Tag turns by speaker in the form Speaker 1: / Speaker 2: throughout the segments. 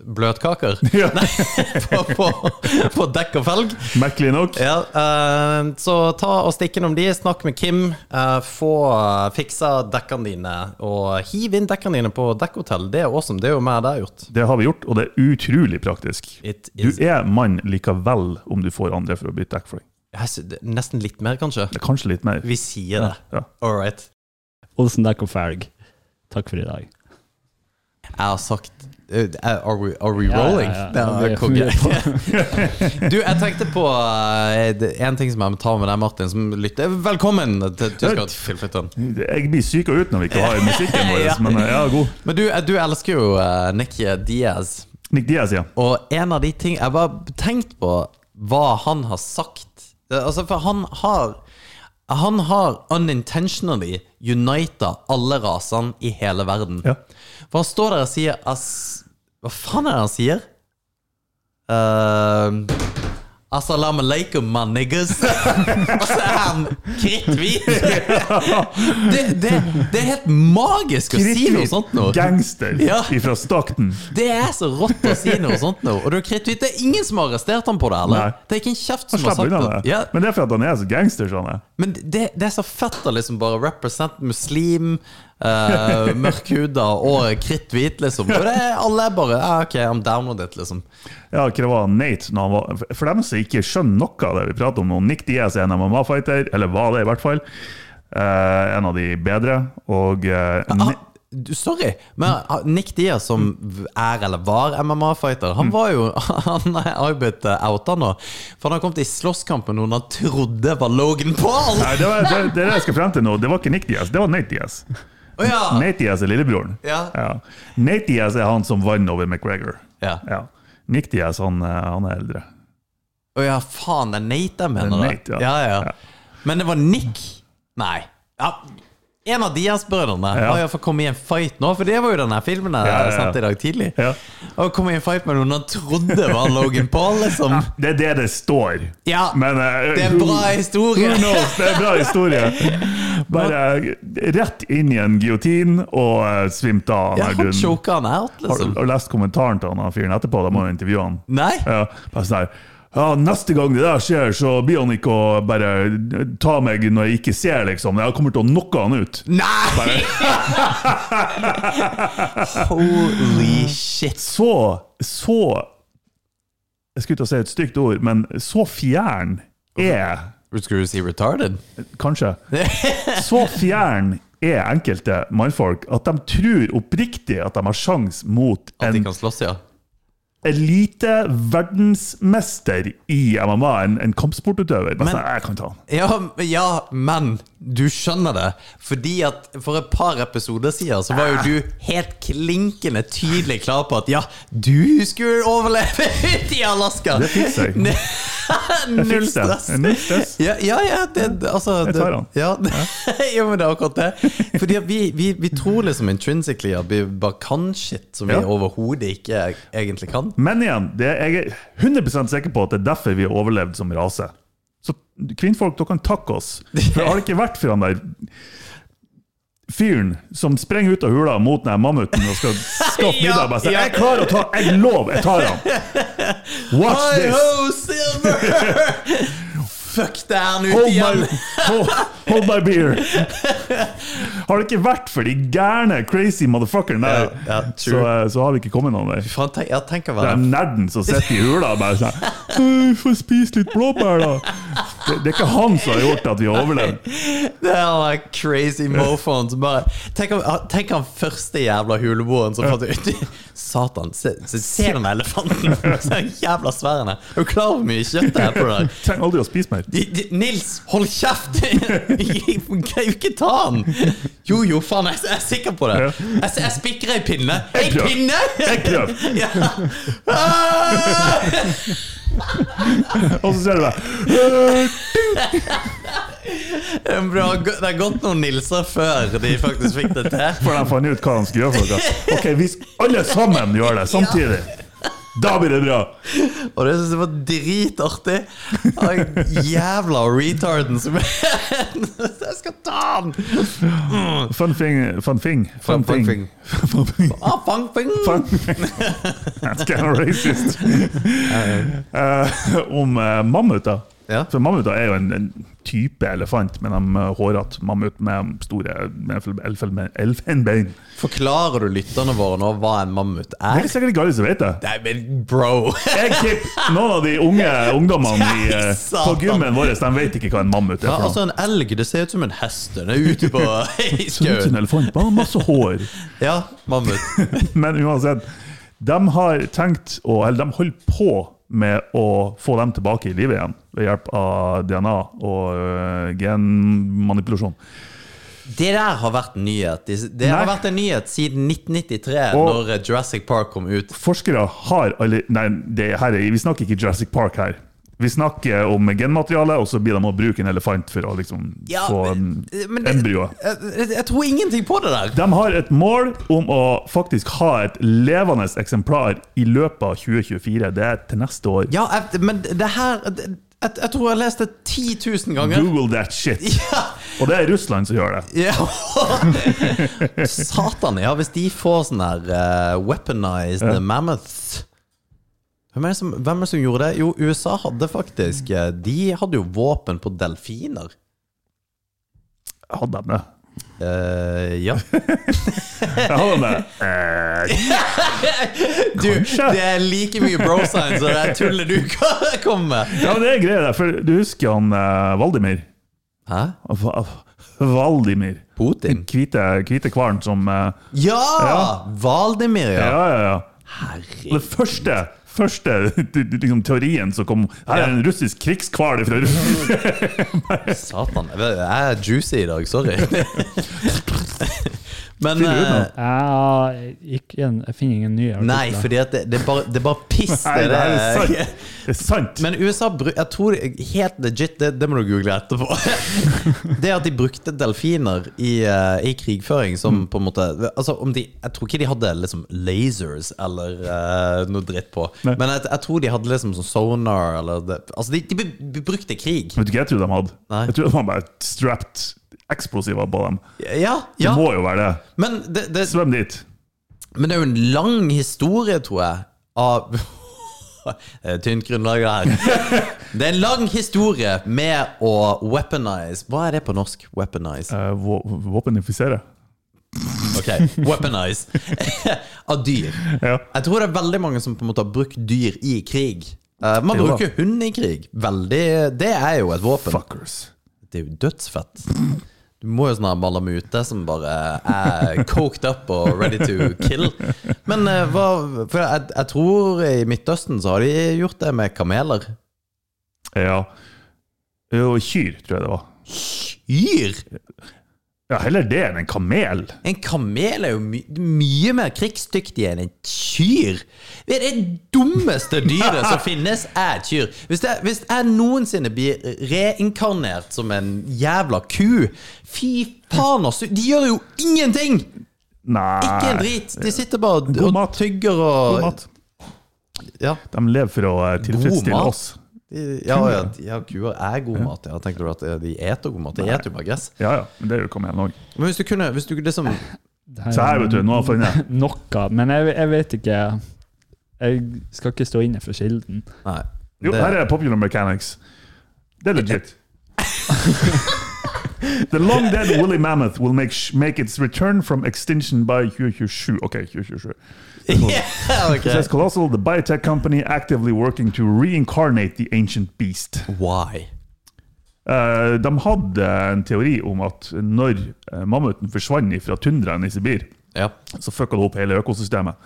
Speaker 1: bløtkaker.
Speaker 2: Ja.
Speaker 1: Nei, på, på, på dekk og felg.
Speaker 2: Merkelig nok.
Speaker 1: Ja, eh, så ta og stikk innom de, snakk med Kim. eh, få eh, fiksa dekkene dine, og hiv inn dekkene dine på dekkhotell. Det er awesome. Det er jo mer det jeg har gjort.
Speaker 2: Det har vi gjort, og det er utrolig praktisk.
Speaker 1: It
Speaker 2: Du
Speaker 1: is-
Speaker 2: er mann likevel om du får andre for å bytte dekk for deg.
Speaker 1: Jeg sy- det- Nesten litt mer, kanskje.
Speaker 2: Det er kanskje litt mer.
Speaker 1: Vi sier det.
Speaker 2: Ja.
Speaker 1: All right.
Speaker 3: Olsen Dekk og Ferg, takk for i dag.
Speaker 1: Jeg har sagt eh, Are we, are we
Speaker 3: Ja, ja,
Speaker 1: rolling?
Speaker 3: ja.
Speaker 1: Det er
Speaker 3: Det er for mye
Speaker 1: konge. du, jeg tenkte på eh, det- en ting som jeg må ta med deg, Martin, som lytter. Velkommen til Tyskland, Filflytteren.
Speaker 2: Jeg blir syk og ut når vi ikke har musikken vår,
Speaker 1: Ja.
Speaker 2: men ja, god.
Speaker 1: Men du, eh, du elsker jo eh, Nicky Diaz,
Speaker 2: Nick Diaz, ja.
Speaker 1: og en av de ting jeg bare tenkte på, hva han har sagt. Eh, Altså, for han har han har unintentionally unita alle rasene i hele verden.
Speaker 2: ja.
Speaker 1: For han står der og sier ass, Hva faen er det han sier? Uh, Assalam alaikum, my niggas. Og så er han kritthvit! Det, det, det er helt magisk å si noe sånt nå.
Speaker 2: Gangster
Speaker 1: Ja.
Speaker 2: ifra Stockton.
Speaker 1: Det er så rått å si noe sånt nå. Og du er kritthvit. Det er ingen som har arrestert ham på det.
Speaker 2: Nei.
Speaker 1: eller? Det er ikke en kjeft som har
Speaker 2: Slapp
Speaker 1: sagt
Speaker 2: unna
Speaker 1: det.
Speaker 2: det.
Speaker 1: Ja,
Speaker 2: Men det er fordi han er så gangster, sånn jeg.
Speaker 1: men det, det er så fett å liksom bare represent muslim, uh, mørkhuda og kritthvit, liksom. Og det er alle er bare ah, OK, I'm down with it, liksom.
Speaker 2: Ja, hva det var Nate når han var For dem som ikke skjønner noe av det vi prater om, om Nick Diaz er en MMA-fighter, eller var det i hvert fall, eh, en av de bedre, og eh,
Speaker 1: Ah,
Speaker 2: Ne-
Speaker 1: du, sorry, men ah, Nick Diaz, som er eller var MMA-fighter,
Speaker 2: Mm.
Speaker 1: han var jo Han har jo blitt eh, outa nå. For han har kommet i slåsskamp med noen han trodde var Logan Paul!
Speaker 2: Nei, det, var, det, det er det jeg skal frem til nå. Det var ikke Nick Diaz, det var Nate Diaz.
Speaker 1: Å ja.
Speaker 2: Nate Diaz er lillebroren.
Speaker 1: Ja.
Speaker 2: Nate Diaz er han som vant over McGregor.
Speaker 1: Ja.
Speaker 2: Ja. Nick Diaz, han, eh, han er eldre.
Speaker 1: Å ja, faen, det er Nate jeg mener.
Speaker 2: Det er
Speaker 1: da.
Speaker 2: Nate,
Speaker 1: ja.
Speaker 2: ja.
Speaker 1: Ja, Men det var Nick. Nei. Ja. En av Diaz-brødrene
Speaker 2: Ja.
Speaker 1: har iallfall kommet i en fight nå, for det var jo denne filmen jeg
Speaker 2: Ja, ja, ja.
Speaker 1: sendte i dag tidlig.
Speaker 2: Ja.
Speaker 1: Og kom i en fight med noen han trodde var Logan Paul, liksom.
Speaker 2: Det er det det står.
Speaker 1: Ja,
Speaker 2: Men eh,
Speaker 1: det er en
Speaker 2: who-
Speaker 1: bra historie.
Speaker 2: Who knows? Det er en bra historie. Bare eh, rett inn i en giotin og eh, svimt av.
Speaker 1: Ja,
Speaker 2: her,
Speaker 1: han
Speaker 2: du-
Speaker 1: choka han out,
Speaker 2: Har
Speaker 1: liksom.
Speaker 2: har lest kommentaren til han her fyren etterpå? Da må jo intervjue han.
Speaker 1: Nei?
Speaker 2: Ja, bare sånn her ja, Neste gang det der skjer, så blir han ikke å bare ta meg når jeg ikke ser, liksom. Jeg kommer til å knocke han ut.
Speaker 1: Nei! Holy shit.
Speaker 2: Så, så Jeg skulle til å si et stygt ord, men så fjern er
Speaker 1: Skulle du si retarded?
Speaker 2: Kanskje. Så fjern er enkelte mannfolk at de tror oppriktig at de har sjans mot
Speaker 1: At de
Speaker 2: en
Speaker 1: kan slåss, ja?
Speaker 2: elite verdensmester i MMA, en, en kampsportutøver. Bare
Speaker 1: Men-
Speaker 2: sånn, jeg kan ta han.
Speaker 1: Ja, ja, men du skjønner det. Fordi at for et par episoder siden så var jo du helt klinkende tydelig klar på at ja, du skulle overleve ute i Alaska!
Speaker 2: Det fikser jeg.
Speaker 1: Ne- Null
Speaker 2: fikser det.
Speaker 1: stress.
Speaker 2: Null stress.
Speaker 1: Ja, ja, ja det, altså
Speaker 2: Jeg tar han.
Speaker 1: det- Ja, ja, men det er akkurat det. Fordi at vi, vi, vi tror liksom intrinsically at vi bare kan shit som vi
Speaker 2: Ja.
Speaker 1: overhodet ikke egentlig kan.
Speaker 2: Men igjen, det, jeg er 100 sikker på at det er derfor vi har overlevd som rase. Så kvinnfolk, dere kan takke oss. For har det ikke vært for han der fyren som sprenger ut av hula mot den her mammuten og skal skaffe
Speaker 1: Ja,
Speaker 2: middag bare sier
Speaker 1: ja.
Speaker 2: 'Jeg klarer å ta Jeg lover, jeg tar han'. Watch
Speaker 1: Hi
Speaker 2: this!
Speaker 1: ho, Silver! Fuck, det er han ute
Speaker 2: Hold
Speaker 1: igjen!
Speaker 2: my, hold, hold my beer! Har det ikke vært for de gærne, crazy motherfuckeren der,
Speaker 1: Ja, ja,
Speaker 2: så,
Speaker 1: true.
Speaker 2: eh, så har vi ikke kommet noen vei.
Speaker 1: Faen, tenk, ja, tenk å være
Speaker 2: Den nerden som sitter i hula og bare sånn «Øy, 'Få spise litt blåbær, da'. Det, det er ikke han som har gjort at vi har overlevd.
Speaker 1: Det er like crazy mofoen som bare Tenk, om, tenk han første jævla huleboeren som fant ut Satan, se, se, se den elefanten! Så jævla svær han er. Er du klar over hvor mye kjøtt det er på den?
Speaker 2: Trenger aldri å spise mer.
Speaker 1: De- de- Nils, hold kjeft! Jeg kan jo ikke ta han! Jo, jo, faen, jeg, jeg er sikker på det.
Speaker 2: Ja.
Speaker 1: Jeg, s- jeg spikrer ei pinne. Ei
Speaker 2: prøv.
Speaker 1: pinne?!
Speaker 2: Jeg prøv.
Speaker 1: Ja. Ah!
Speaker 2: Og så ser du det.
Speaker 1: Det er bra. Det har gått noen Nilser før de faktisk fikk det til.
Speaker 2: For de fant ut hva han skulle gjøre for noe. Ok, hvis alle sammen gjør det samtidig, Da blir det bra!
Speaker 1: Og det synes jeg var dritartig. Han jævla retarden som Jeg skal ta han!
Speaker 2: Fun thing. Fun thing.
Speaker 1: Fun- fun thing.
Speaker 2: Fun thing.
Speaker 1: Ah, fang, fang.
Speaker 2: Fun thing. That's kind of racist. Eh, om eh, mammuter.
Speaker 1: Ja.
Speaker 2: For mammuter er jo en, en type elefant, men de eh, hårete mammut med store elfen- elfen- elfenbein.
Speaker 1: Forklarer du lytterne våre nå hva en mammut
Speaker 2: Det
Speaker 1: er?
Speaker 2: er sikkert ikke alle som vet det.
Speaker 1: Nei, men bro!
Speaker 2: Jeg tipper noen av de unge ungdommene i, eh, på
Speaker 1: Satan.
Speaker 2: gymmen vår de vet ikke hva en mammut er.
Speaker 1: Ja,
Speaker 2: for noe.
Speaker 1: altså En elg det ser ut som en hest. Den er ute på i
Speaker 2: Ser ut som en
Speaker 1: skauen.
Speaker 2: elefant, bare masse hår.
Speaker 1: Ja, mammut.
Speaker 2: Men uansett, de har tenkt å, Eller de holder på med å få dem tilbake i livet igjen ved hjelp av DNA og øh, genmanipulasjon.
Speaker 1: Det der har vært en nyhet. Det
Speaker 2: Nei.
Speaker 1: har vært en nyhet siden 1993,
Speaker 2: Og-
Speaker 1: når Jurassic Park kom ut.
Speaker 2: Forskere har alle Nei, det her er, vi snakker ikke Jurassic Park her. Vi snakker om genmateriale, og så blir de å bruke en elefant for å liksom
Speaker 1: Ja,
Speaker 2: få
Speaker 1: men- men det-
Speaker 2: embryoet.
Speaker 1: Jeg, jeg- jeg tror ingenting på det der.
Speaker 2: De har et mål om å faktisk ha et levende eksemplar i løpet av 2024. Det er til neste år.
Speaker 1: Ja, jeg, men det her det- jeg, jeg tror jeg har lest det 10 000 ganger.
Speaker 2: Google that shit!
Speaker 1: Ja,
Speaker 2: Og det er Russland som gjør det.
Speaker 1: ja. Satan, ja, hvis de får sånn her eh, weaponized mammoths hvem er, det som, hvem er det som gjorde det? Jo, USA hadde faktisk eh, De hadde jo våpen på delfiner.
Speaker 2: Hadde de det?
Speaker 1: Eh, ja.
Speaker 2: Jeg hadde den der. Eh,
Speaker 1: Du,
Speaker 2: Kanskje.
Speaker 1: det er like mye bro science og det er tullet du kommer med.
Speaker 2: Ja, men det er greia der, for du husker han eh, Valdimir?
Speaker 1: Hæ?
Speaker 2: Va- Valdimir. Den
Speaker 1: Putin?
Speaker 2: hvite, hvite hvalen som eh,
Speaker 1: Ja!
Speaker 2: Ja.
Speaker 1: Valdemir,
Speaker 2: Ja,
Speaker 1: ja.
Speaker 2: ja, ja.
Speaker 1: Herregud.
Speaker 2: Den første, første liksom, teorien som kom Her er en russisk krigshval fra Russland.
Speaker 1: Satan. Jeg er juicy i dag, sorry. Men
Speaker 2: Finner du ut noe?
Speaker 1: eh,
Speaker 3: Jeg, gikk igjen, jeg finner ingen nye artikler.
Speaker 1: Nei, fordi at det, det, er bare, det er bare piss.
Speaker 2: Nei,
Speaker 1: det
Speaker 2: det er
Speaker 1: der.
Speaker 2: sant! Det er sant.
Speaker 1: Men USA bru- Jeg tror det- helt legit, det, det må du google etterpå. Det at de brukte delfiner i, eh, i krigføring
Speaker 2: Mm.
Speaker 1: som på en måte Altså om de, Jeg tror ikke de hadde liksom lasers eller eh, noe dritt på.
Speaker 2: Nei.
Speaker 1: Men jeg, jeg tror de hadde liksom sånn sonar eller det, Altså, de, de be- be- brukte krig.
Speaker 2: Vet du hva jeg trodde de hadde?
Speaker 1: Nei.
Speaker 2: Jeg trodde de var bare strapped eksplosiver på dem.
Speaker 1: Ja,
Speaker 2: Det
Speaker 1: ja.
Speaker 2: må jo være det.
Speaker 1: Men det, det,
Speaker 2: Svøm dit.
Speaker 1: Men det er jo en lang historie, tror jeg, av Det er Tynt grunnlag her. Det er en lang historie med å weaponize Hva er det på norsk? Weaponize.
Speaker 2: Eh, vå- Våpenifisere.
Speaker 1: Ok, weaponize Av dyr.
Speaker 2: Ja.
Speaker 1: Jeg tror det er veldig mange som på en måte har brukt dyr i krig. Eh, Man
Speaker 2: Jo da.
Speaker 1: bruker hund i krig. Veldig Det er jo et våpen.
Speaker 2: Fuckers.
Speaker 1: Det er jo dødsfett. Du må jo sånn ha malamute som bare er coked up og ready to kill. Men eh, hva For jeg, jeg tror i Midtøsten så har de gjort det med kameler.
Speaker 2: Ja. Jo, kyr, tror jeg det var.
Speaker 1: Kyr!
Speaker 2: Ja, Heller det enn en kamel.
Speaker 1: En kamel er jo my mye mer krigsdyktig enn en kyr. Det, er det dummeste dyret som finnes, er et kyr. Hvis jeg, hvis jeg noensinne blir reinkarnert som en jævla ku Fy faen, altså! De gjør jo ingenting!
Speaker 2: Nei
Speaker 1: Ikke en drit. De sitter bare og,
Speaker 2: God
Speaker 1: og
Speaker 2: mat.
Speaker 1: tygger og
Speaker 2: God mat.
Speaker 1: Ja.
Speaker 2: De lever for å eh, tilfredsstille
Speaker 1: mat.
Speaker 2: oss.
Speaker 1: De- Ja, ja, de- ja, kuer er god mat. Ja, tenkte du at eh, de eter god mat? De eter jo bare gress.
Speaker 2: Ja, ja. Men det er jo kamelen òg.
Speaker 1: Men hvis du kunne hvis du liksom
Speaker 3: Det her
Speaker 2: Se her, vet du. Nå har jeg funnet
Speaker 3: Noe. Men jeg, jeg vet ikke Jeg skal ikke stå inne for kilden.
Speaker 1: Nei.
Speaker 2: Jo,
Speaker 1: det-
Speaker 2: her er Popular Mechanics. Det er legit. The long dead woolly mammoth will make, sh make its return from extinction by 2027. Okay, 2027.
Speaker 1: ja, ok.
Speaker 2: It says Colossal, the biotech company actively working to reincarnate the ancient beast.
Speaker 1: Why?
Speaker 2: Eh, de hadde en teori om at når eh, mammuten forsvant fra tundraen i Sibir,
Speaker 1: Ja.
Speaker 2: så fucka det opp hele økosystemet.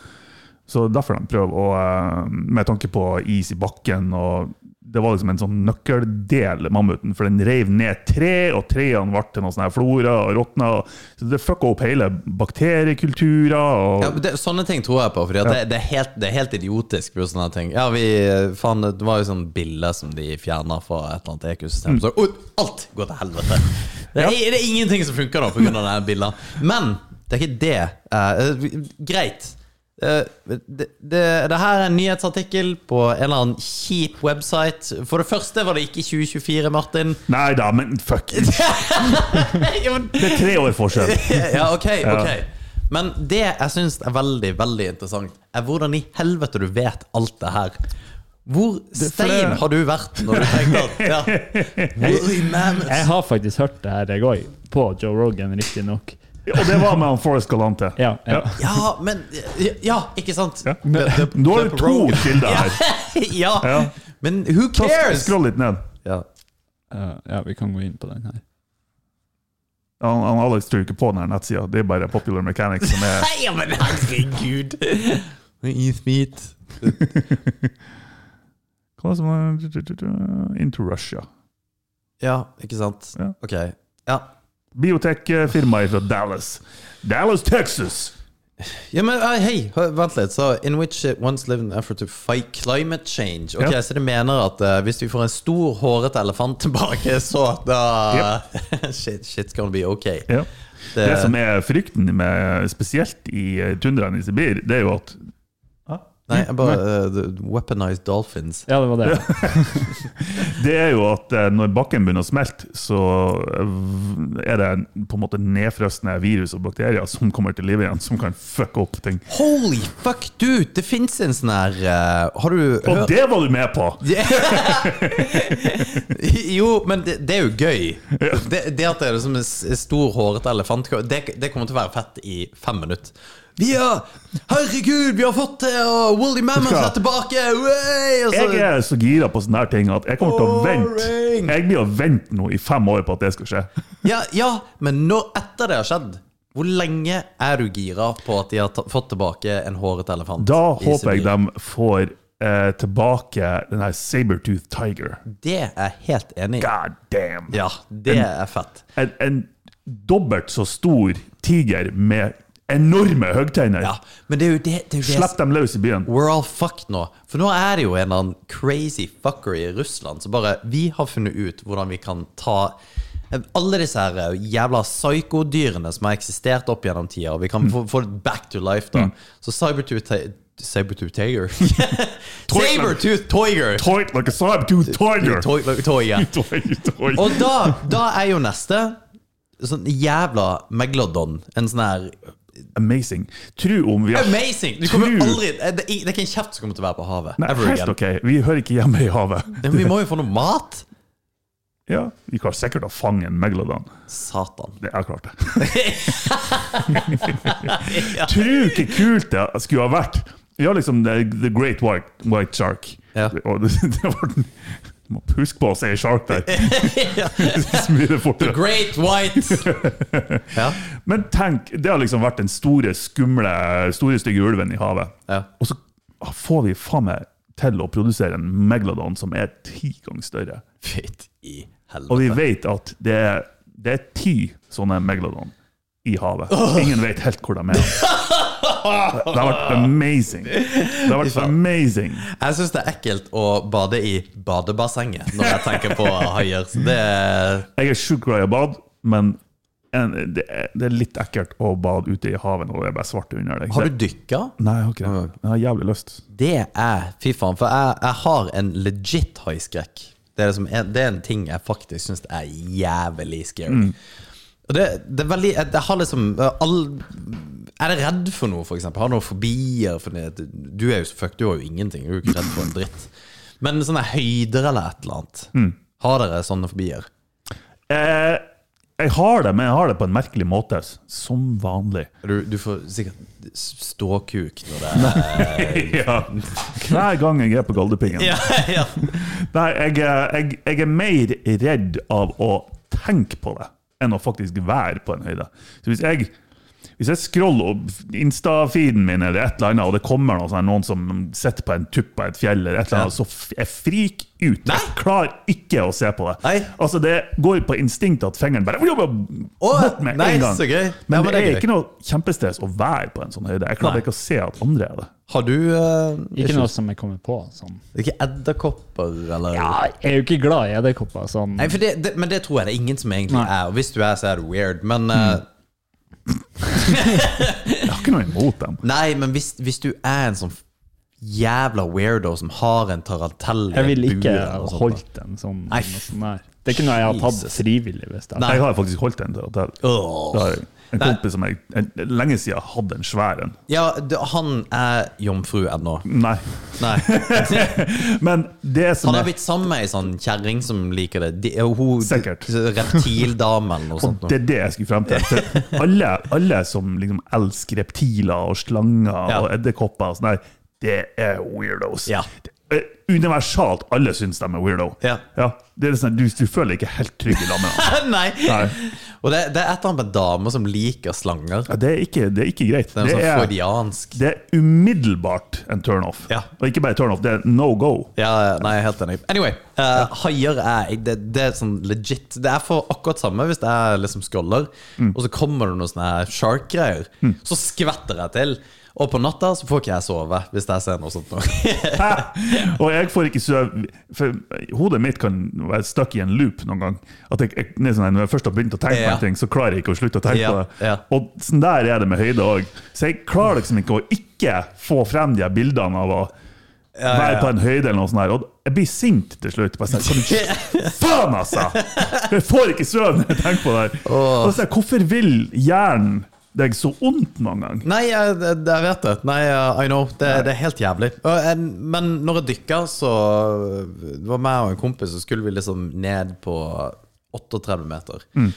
Speaker 2: Så derfor de prøver å eh, Med tanke på is i bakken og Det var liksom en sånn nøkkeldel, mammuten, for den reiv ned tre, og trærne ble til noen sånne her flora og råtna. og- Så det fucka opp hele bakteriekulturer og
Speaker 1: ja men det, sånne ting tror jeg på, for det, det, er helt- det er helt idiotisk. Med sånne ting. Ja, vi, faen, det var jo sånn biller som de fjerna fra et eller annet ekosystem. Så ut, alt går til helvete! Det er, det er ingenting som funker nå pga. den billa. Men det er ikke det. Eh, greit. Eh, det, det, det her er en nyhetsartikkel på en eller annen kjip website. For det første var det ikke 2024, Martin.
Speaker 2: Nei da, men fuck. Det
Speaker 1: Ja, men-
Speaker 2: er tre år forskjell.
Speaker 1: ja, ok, ok Men det jeg syns er veldig veldig interessant, er hvordan i helvete du vet alt det her. Hvor
Speaker 2: for det-
Speaker 1: stein har du vært når du tenkte at ja. Hvor i
Speaker 3: Jeg
Speaker 1: mammoth-
Speaker 3: har faktisk hørt det her i går, på Joe Rogan, riktignok.
Speaker 2: Og det var med han Forrest Galante.
Speaker 3: Ja, ja.
Speaker 1: Ja, men Ja, ikke sant?
Speaker 2: Ja.
Speaker 1: The- the-
Speaker 2: Nå har
Speaker 1: the
Speaker 2: du to
Speaker 1: Rogan.
Speaker 2: kilder her.
Speaker 1: ja.
Speaker 2: Ja.
Speaker 1: Men who
Speaker 2: Ta sk-
Speaker 1: cares?
Speaker 2: Skroll litt ned.
Speaker 1: Ja.
Speaker 3: Eh, ja, vi kan gå inn på den her.
Speaker 2: Han, han Alex tror ikke på den her nettsida. Det er bare Popular Mechanics som er
Speaker 1: Nei, ja, men herregud! Isbit.
Speaker 2: Hva er det som er Into Russia.
Speaker 1: Ja, ikke sant?
Speaker 2: Ja.
Speaker 1: Ok. Ja.
Speaker 2: Biotekfirmaet fra Dallas. Dallas, Texas!
Speaker 1: Ja, men eh, hei, hø- vent litt. Så, in which it once lived in an effort to fight climate change. Ok,
Speaker 2: Ja.
Speaker 1: Så det mener at eh, hvis vi får en stor, hårete elefant tilbake, så da shit, Shit's gonna be ok.
Speaker 2: Ja.
Speaker 1: Det,
Speaker 2: Det som er frykten med spesielt i eh, tundraen i Sibir, det er jo at
Speaker 1: nei, jeg bare eh, the Weaponized dolphins.
Speaker 3: Ja, det var det.
Speaker 2: Det er jo at eh, når bakken begynner å smelte, så eh, er det på en måte nedfrosne virus og bakterier som kommer til live igjen, som kan fucke opp ting.
Speaker 1: Holy fuck, dude! Det fins en sånn her eh, Har du
Speaker 2: Og det var du med på!
Speaker 1: jo, men det, det er jo gøy. Det, det at det er som en s- stor, hårete elefant, det, det kommer til å være fett i fem minutter. Vi har, Herregud, vi har fått det! Og Woolly Mammoth er tilbake! Wey! Og så,
Speaker 2: Jeg er så gira på sånne her ting at jeg kommer til å vente
Speaker 1: altså- Boring.
Speaker 2: Jeg blir å vente nå i fem år på at det skal skje.
Speaker 1: ja, ja, men når etter det har skjedd, hvor lenge er du gira på at de har ta, fått tilbake en hårete elefant?
Speaker 2: Da
Speaker 1: i
Speaker 2: håper jeg
Speaker 1: Sibir?
Speaker 2: de får eh, tilbake den her Sabertooth Tiger.
Speaker 1: Det er jeg helt enig i.
Speaker 2: God damn!
Speaker 1: Ja, det er fett.
Speaker 2: En, en dobbelt så stor tiger med enorme hoggtenner.
Speaker 1: Ja, men det er jo det, det, er jo det
Speaker 2: Slipp dem løs i byen.
Speaker 1: We're all fucked nå. For nå er det jo en eller annen crazy fucker i Russland som bare Vi har funnet ut hvordan vi kan ta alle disse her eh, jævla psykodyrene som har eksistert opp gjennom tida, og vi
Speaker 2: Mm.
Speaker 1: kan få, få det back to life, da. Så Cybertooth Ti- Sabertooth Tiger Sabertooth Tiger!
Speaker 2: Toit like a Sabertooth Tiger!
Speaker 1: Toi- Tiger.
Speaker 2: Og
Speaker 1: Og da, da er jo neste sånn jævla megalodon. En sånn her
Speaker 2: Amazing. Tro om vi har
Speaker 1: Amazing! Du kommer jo
Speaker 2: True.
Speaker 1: aldri Det er ikke en kjeft som kommer til å være på havet.
Speaker 2: Nei,
Speaker 1: Ever
Speaker 2: helt
Speaker 1: again.
Speaker 2: ok. Vi hører ikke hjemme i havet.
Speaker 1: Ja, Men vi må jo få noe mat!
Speaker 2: Ja, Vi klarer sikkert å fange en megalodon.
Speaker 1: Satan.
Speaker 2: Det er klart det. Tro hvor kult det skulle ha vært. Vi har liksom The, the Great White, white Shark.
Speaker 1: Ja.
Speaker 2: Og det, det var den Du må huske på å si shark der. Så blir det fortere.
Speaker 1: Great white! ja.
Speaker 2: Men tenk, det har liksom vært den store, skumle, store stygge ulven i havet.
Speaker 1: Ja.
Speaker 2: Og så får vi faen meg til å produsere en megalodon som er ti ganger større.
Speaker 1: Fytt i
Speaker 2: Og vi
Speaker 1: helvete.
Speaker 2: vet at det er, det er ti sånne megalodon i havet. Ingen vet helt hvor de er. Det har vært amazing. Det har vært amazing.
Speaker 1: Jeg syns det er ekkelt å bade i badebassenget når jeg tenker på haier. Så det
Speaker 2: Jeg er sjukt glad i å bade, men en, det, er, det er litt ekkelt å bade ute i havet når det er bare svart under deg.
Speaker 1: Har
Speaker 2: Det-
Speaker 1: du dykka?
Speaker 2: Nei, jeg har ikke det. Jeg har jævlig lyst.
Speaker 1: Det er Fy faen, for jeg, jeg har en legit haiskrekk. Det er, liksom, en- det er en ting jeg faktisk syns er jævlig scary. Og det, det er veldig Jeg jeg har liksom all, Er det redd for noe, for eksempel? Har du noen fobier? For det, du er jo så fucked, du har jo ingenting. Du er jo ikke redd for en dritt. Men sånne høyder eller et eller annet. Har dere sånne fobier?
Speaker 2: Eh, jeg har det, men jeg har det på en merkelig måte. s- Som vanlig.
Speaker 1: Du, du får sikkert ståkuk når det er
Speaker 2: Ja. Hver gang jeg er på Galdhøpiggen.
Speaker 1: Eh. ja, ja.
Speaker 2: Nei, jeg, er- jeg, jeg er mer redd av å tenke på det enn å faktisk være på en høyde. Så hvis jeg, hvis jeg scroller opp Insta-feeden min eller et eller annet, og det kommer noe sånn, noen som sitter på en tupp av et fjell, eller et eller annet, så f jeg frik ut.
Speaker 1: Nei.
Speaker 2: Jeg klarer ikke å se på det.
Speaker 1: Nei.
Speaker 2: Altså, Det går på instinkt at fingeren bare
Speaker 1: Å,
Speaker 2: bort med
Speaker 1: nei,
Speaker 2: en gang.
Speaker 1: så gøy. Ja,
Speaker 2: Men,
Speaker 1: men
Speaker 2: det
Speaker 1: det er
Speaker 2: er
Speaker 1: gøy.
Speaker 2: ikke noe kjempestres å være på en sånn høyde. Jeg klarer
Speaker 1: Nei.
Speaker 2: ikke å se at andre er det.
Speaker 1: Har du eh,
Speaker 3: Ikke noe som jeg kommer på. Sånn.
Speaker 1: Ikke edderkopper, eller
Speaker 3: Ja, jeg er jo ikke glad i edderkopper. Sånn.
Speaker 1: Nei, for det, det, men det tror jeg det er
Speaker 2: Mm.
Speaker 1: ingen som egentlig er. Og hvis du er, så er det weird. Men eh,
Speaker 2: ikke noe imot dem.
Speaker 1: Nei, men hvis, hvis du er en sånn jævla weirdo som har en tarantell i
Speaker 3: Jeg ville
Speaker 1: et bur
Speaker 3: ikke
Speaker 1: eller noe sånt, da.
Speaker 3: holdt den som
Speaker 1: Nei,
Speaker 3: noe sånn her. Det er ikke noe jeg har tatt
Speaker 1: Jesus.
Speaker 3: frivillig. hvis det er.
Speaker 2: Jeg har faktisk holdt en til hotell.
Speaker 1: Åh.
Speaker 2: Da har jeg en
Speaker 1: Nei.
Speaker 2: kompis som jeg en, lenge siden hadde en svær en.
Speaker 1: Ja, du, han er jomfru ennå.
Speaker 2: Nei.
Speaker 1: Nei.
Speaker 2: Men det som
Speaker 1: Han har
Speaker 2: er
Speaker 1: blitt sammen med ei sånn kjerring som liker det. De, hun,
Speaker 2: Sikkert.
Speaker 1: Reptildame eller noe sånt.
Speaker 2: og det er det jeg skulle frem til. For alle, alle som liksom elsker reptiler og slanger
Speaker 1: Ja.
Speaker 2: og edderkopper, og sånn der, det er weirdos.
Speaker 1: Ja.
Speaker 2: Det er Universalt, alle syns de er weirdo.
Speaker 1: Ja.
Speaker 2: det er sånn, du, du føler deg ikke helt trygg i lammet.
Speaker 1: Nei.
Speaker 2: Nei.
Speaker 1: Og det, det er et eller annet med damer som liker slanger.
Speaker 2: Ja, det, er ikke, det er ikke greit.
Speaker 1: Det er
Speaker 2: Det
Speaker 1: sånn
Speaker 2: er,
Speaker 1: freudiansk.
Speaker 2: det er umiddelbart en turnoff.
Speaker 1: Ja.
Speaker 2: Og ikke bare turnoff, det er no go.
Speaker 1: Ja, nei, jeg er helt enig. Anyway, eh, haier er det, det er sånn legit. Det er for akkurat samme hvis det er liksom skroller,
Speaker 2: Mm.
Speaker 1: og så kommer det noen sånne her shark-greier. Så skvetter jeg til. Og på natta så får ikke jeg sove hvis jeg ser noe sånt. nå.
Speaker 2: Og jeg får ikke sove For hodet mitt kan være stuck i en loop noen gang. At jeg, jeg, det er sånn, når jeg først har begynt å tenke på
Speaker 1: Ja.
Speaker 2: en ting, så klarer jeg ikke å slutte å tenke
Speaker 1: Ja,
Speaker 2: på det.
Speaker 1: ja.
Speaker 2: Og sånn der er det med høyde òg. Så jeg klarer liksom ikke å ikke få frem de her bildene av å være på en høyde eller noe sånt. her. Og jeg blir sint til slutt. Bare sånn, kan du, faen, altså! Jeg får ikke sove når jeg tenker på det her. Og så er jeg, hvorfor vil hjernen deg så ondt noen gang?
Speaker 1: Nei, jeg, jeg jeg vet det. Nei, eh, I know. Det, det er helt jævlig. Og en- Men når jeg dykker, så Det var meg og en kompis, så skulle vi liksom ned på 38 meter.
Speaker 2: Mm.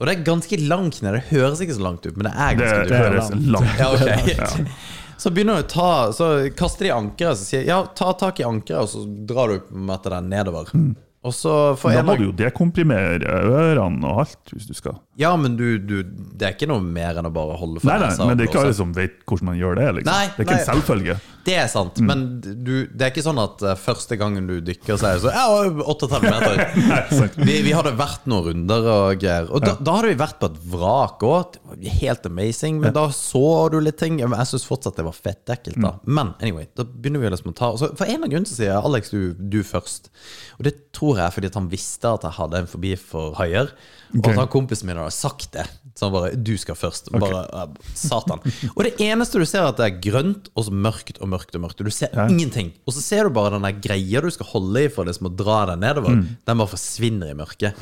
Speaker 1: Og det er ganske langt ned. Det høres ikke så langt ut, men det er
Speaker 2: Det,
Speaker 1: ganske dypt.
Speaker 2: det høres
Speaker 3: langt.
Speaker 2: langt
Speaker 1: Ja,
Speaker 2: ut.
Speaker 1: ok.
Speaker 2: Ja.
Speaker 1: Så begynner du å ta Så kaster de ankeret, så sier jeg, ja, ta tak i ankeret, og så drar du med etter den nedover. Og så får
Speaker 2: Da
Speaker 1: en
Speaker 2: Mm. må
Speaker 1: av
Speaker 2: du jo dekomprimere ørene og alt, hvis du skal.
Speaker 1: Ja, men du, du Det er ikke noe mer enn å bare holde for
Speaker 2: Nei, nei,
Speaker 1: nesa
Speaker 2: men det er ikke
Speaker 1: og
Speaker 2: alle
Speaker 1: blåse.
Speaker 2: som vet hvordan man gjør det. liksom.
Speaker 1: Nei,
Speaker 2: det er ikke en
Speaker 1: nei.
Speaker 2: selvfølge.
Speaker 1: Det er sant,
Speaker 2: Mm.
Speaker 1: men du, det er ikke sånn at eh, første gangen du dykker, så er det så Ja, 38 meter.
Speaker 2: Nei, sant.
Speaker 1: Vi, vi hadde vært noen runder og greier. Og da, da hadde vi vært på et vrak òg. Helt amazing. Men da så du litt ting. Men Jeg syns fortsatt det var fettekkelt.
Speaker 2: Mm.
Speaker 1: da. Men anyway, da begynner vi liksom å ta og så For en eller annen grunn så sier jeg Alex, du, du først. Og det tror jeg er fordi at han visste at jeg hadde en fobi for haier. Og
Speaker 2: Ok.
Speaker 1: at han kompisen min hadde sagt det. Så han bare Du skal først. Bare eh, Satan. Og det eneste du ser, er at det er grønt og så mørkt og mørkt og mørkt. Og du ser ingenting. Og så ser du bare den der greia du skal holde i for liksom å dra deg nedover.
Speaker 2: Mm.
Speaker 1: Den bare forsvinner i mørket.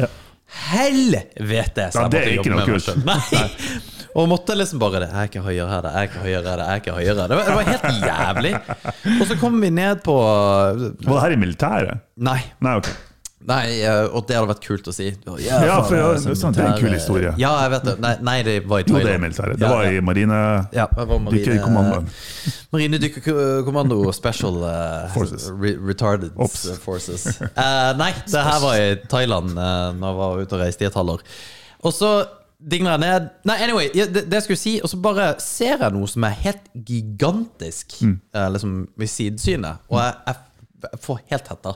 Speaker 1: Helvete! Så
Speaker 2: Ja,
Speaker 1: jeg
Speaker 2: det
Speaker 1: måtte
Speaker 2: er ikke
Speaker 1: jobbe
Speaker 2: noe
Speaker 1: med meg
Speaker 2: kult.
Speaker 1: selv. Nei. Og måtte liksom bare det, Jeg er ikke høyere her, det er ikke høyere her, det er ikke høyere her. Det var- Det var helt jævlig. Og så kom vi ned på
Speaker 2: Var det her i militæret?
Speaker 1: Nei.
Speaker 2: Nei, ok.
Speaker 1: Nei, eh, og det hadde vært kult å si.
Speaker 2: Ja, for ja,
Speaker 1: faen, jeg
Speaker 2: sant, det er en
Speaker 1: militær-
Speaker 2: kul historie.
Speaker 1: Ja, jeg vet det. Nei, nei det var i
Speaker 2: Jo, det er i
Speaker 1: Thailand.
Speaker 2: militæret.
Speaker 1: Ja,
Speaker 2: Det var
Speaker 1: ja.
Speaker 2: i marine...
Speaker 1: Ja, det var marine-
Speaker 2: Dykkerkommandoen.
Speaker 1: Marine dykkerkommando special eh,
Speaker 2: Forces.
Speaker 1: Re retarded
Speaker 2: Ops.
Speaker 1: eh, forces. Eh, nei, det her var i Thailand uh, Når jeg var ute og reiste i et halvår. Og så digner jeg ned Nei, anyway, ja, det, det jeg skulle si, og så bare ser jeg noe som er helt gigantisk eh, liksom i sidesynet, og jeg, jeg, jeg får helt hetta.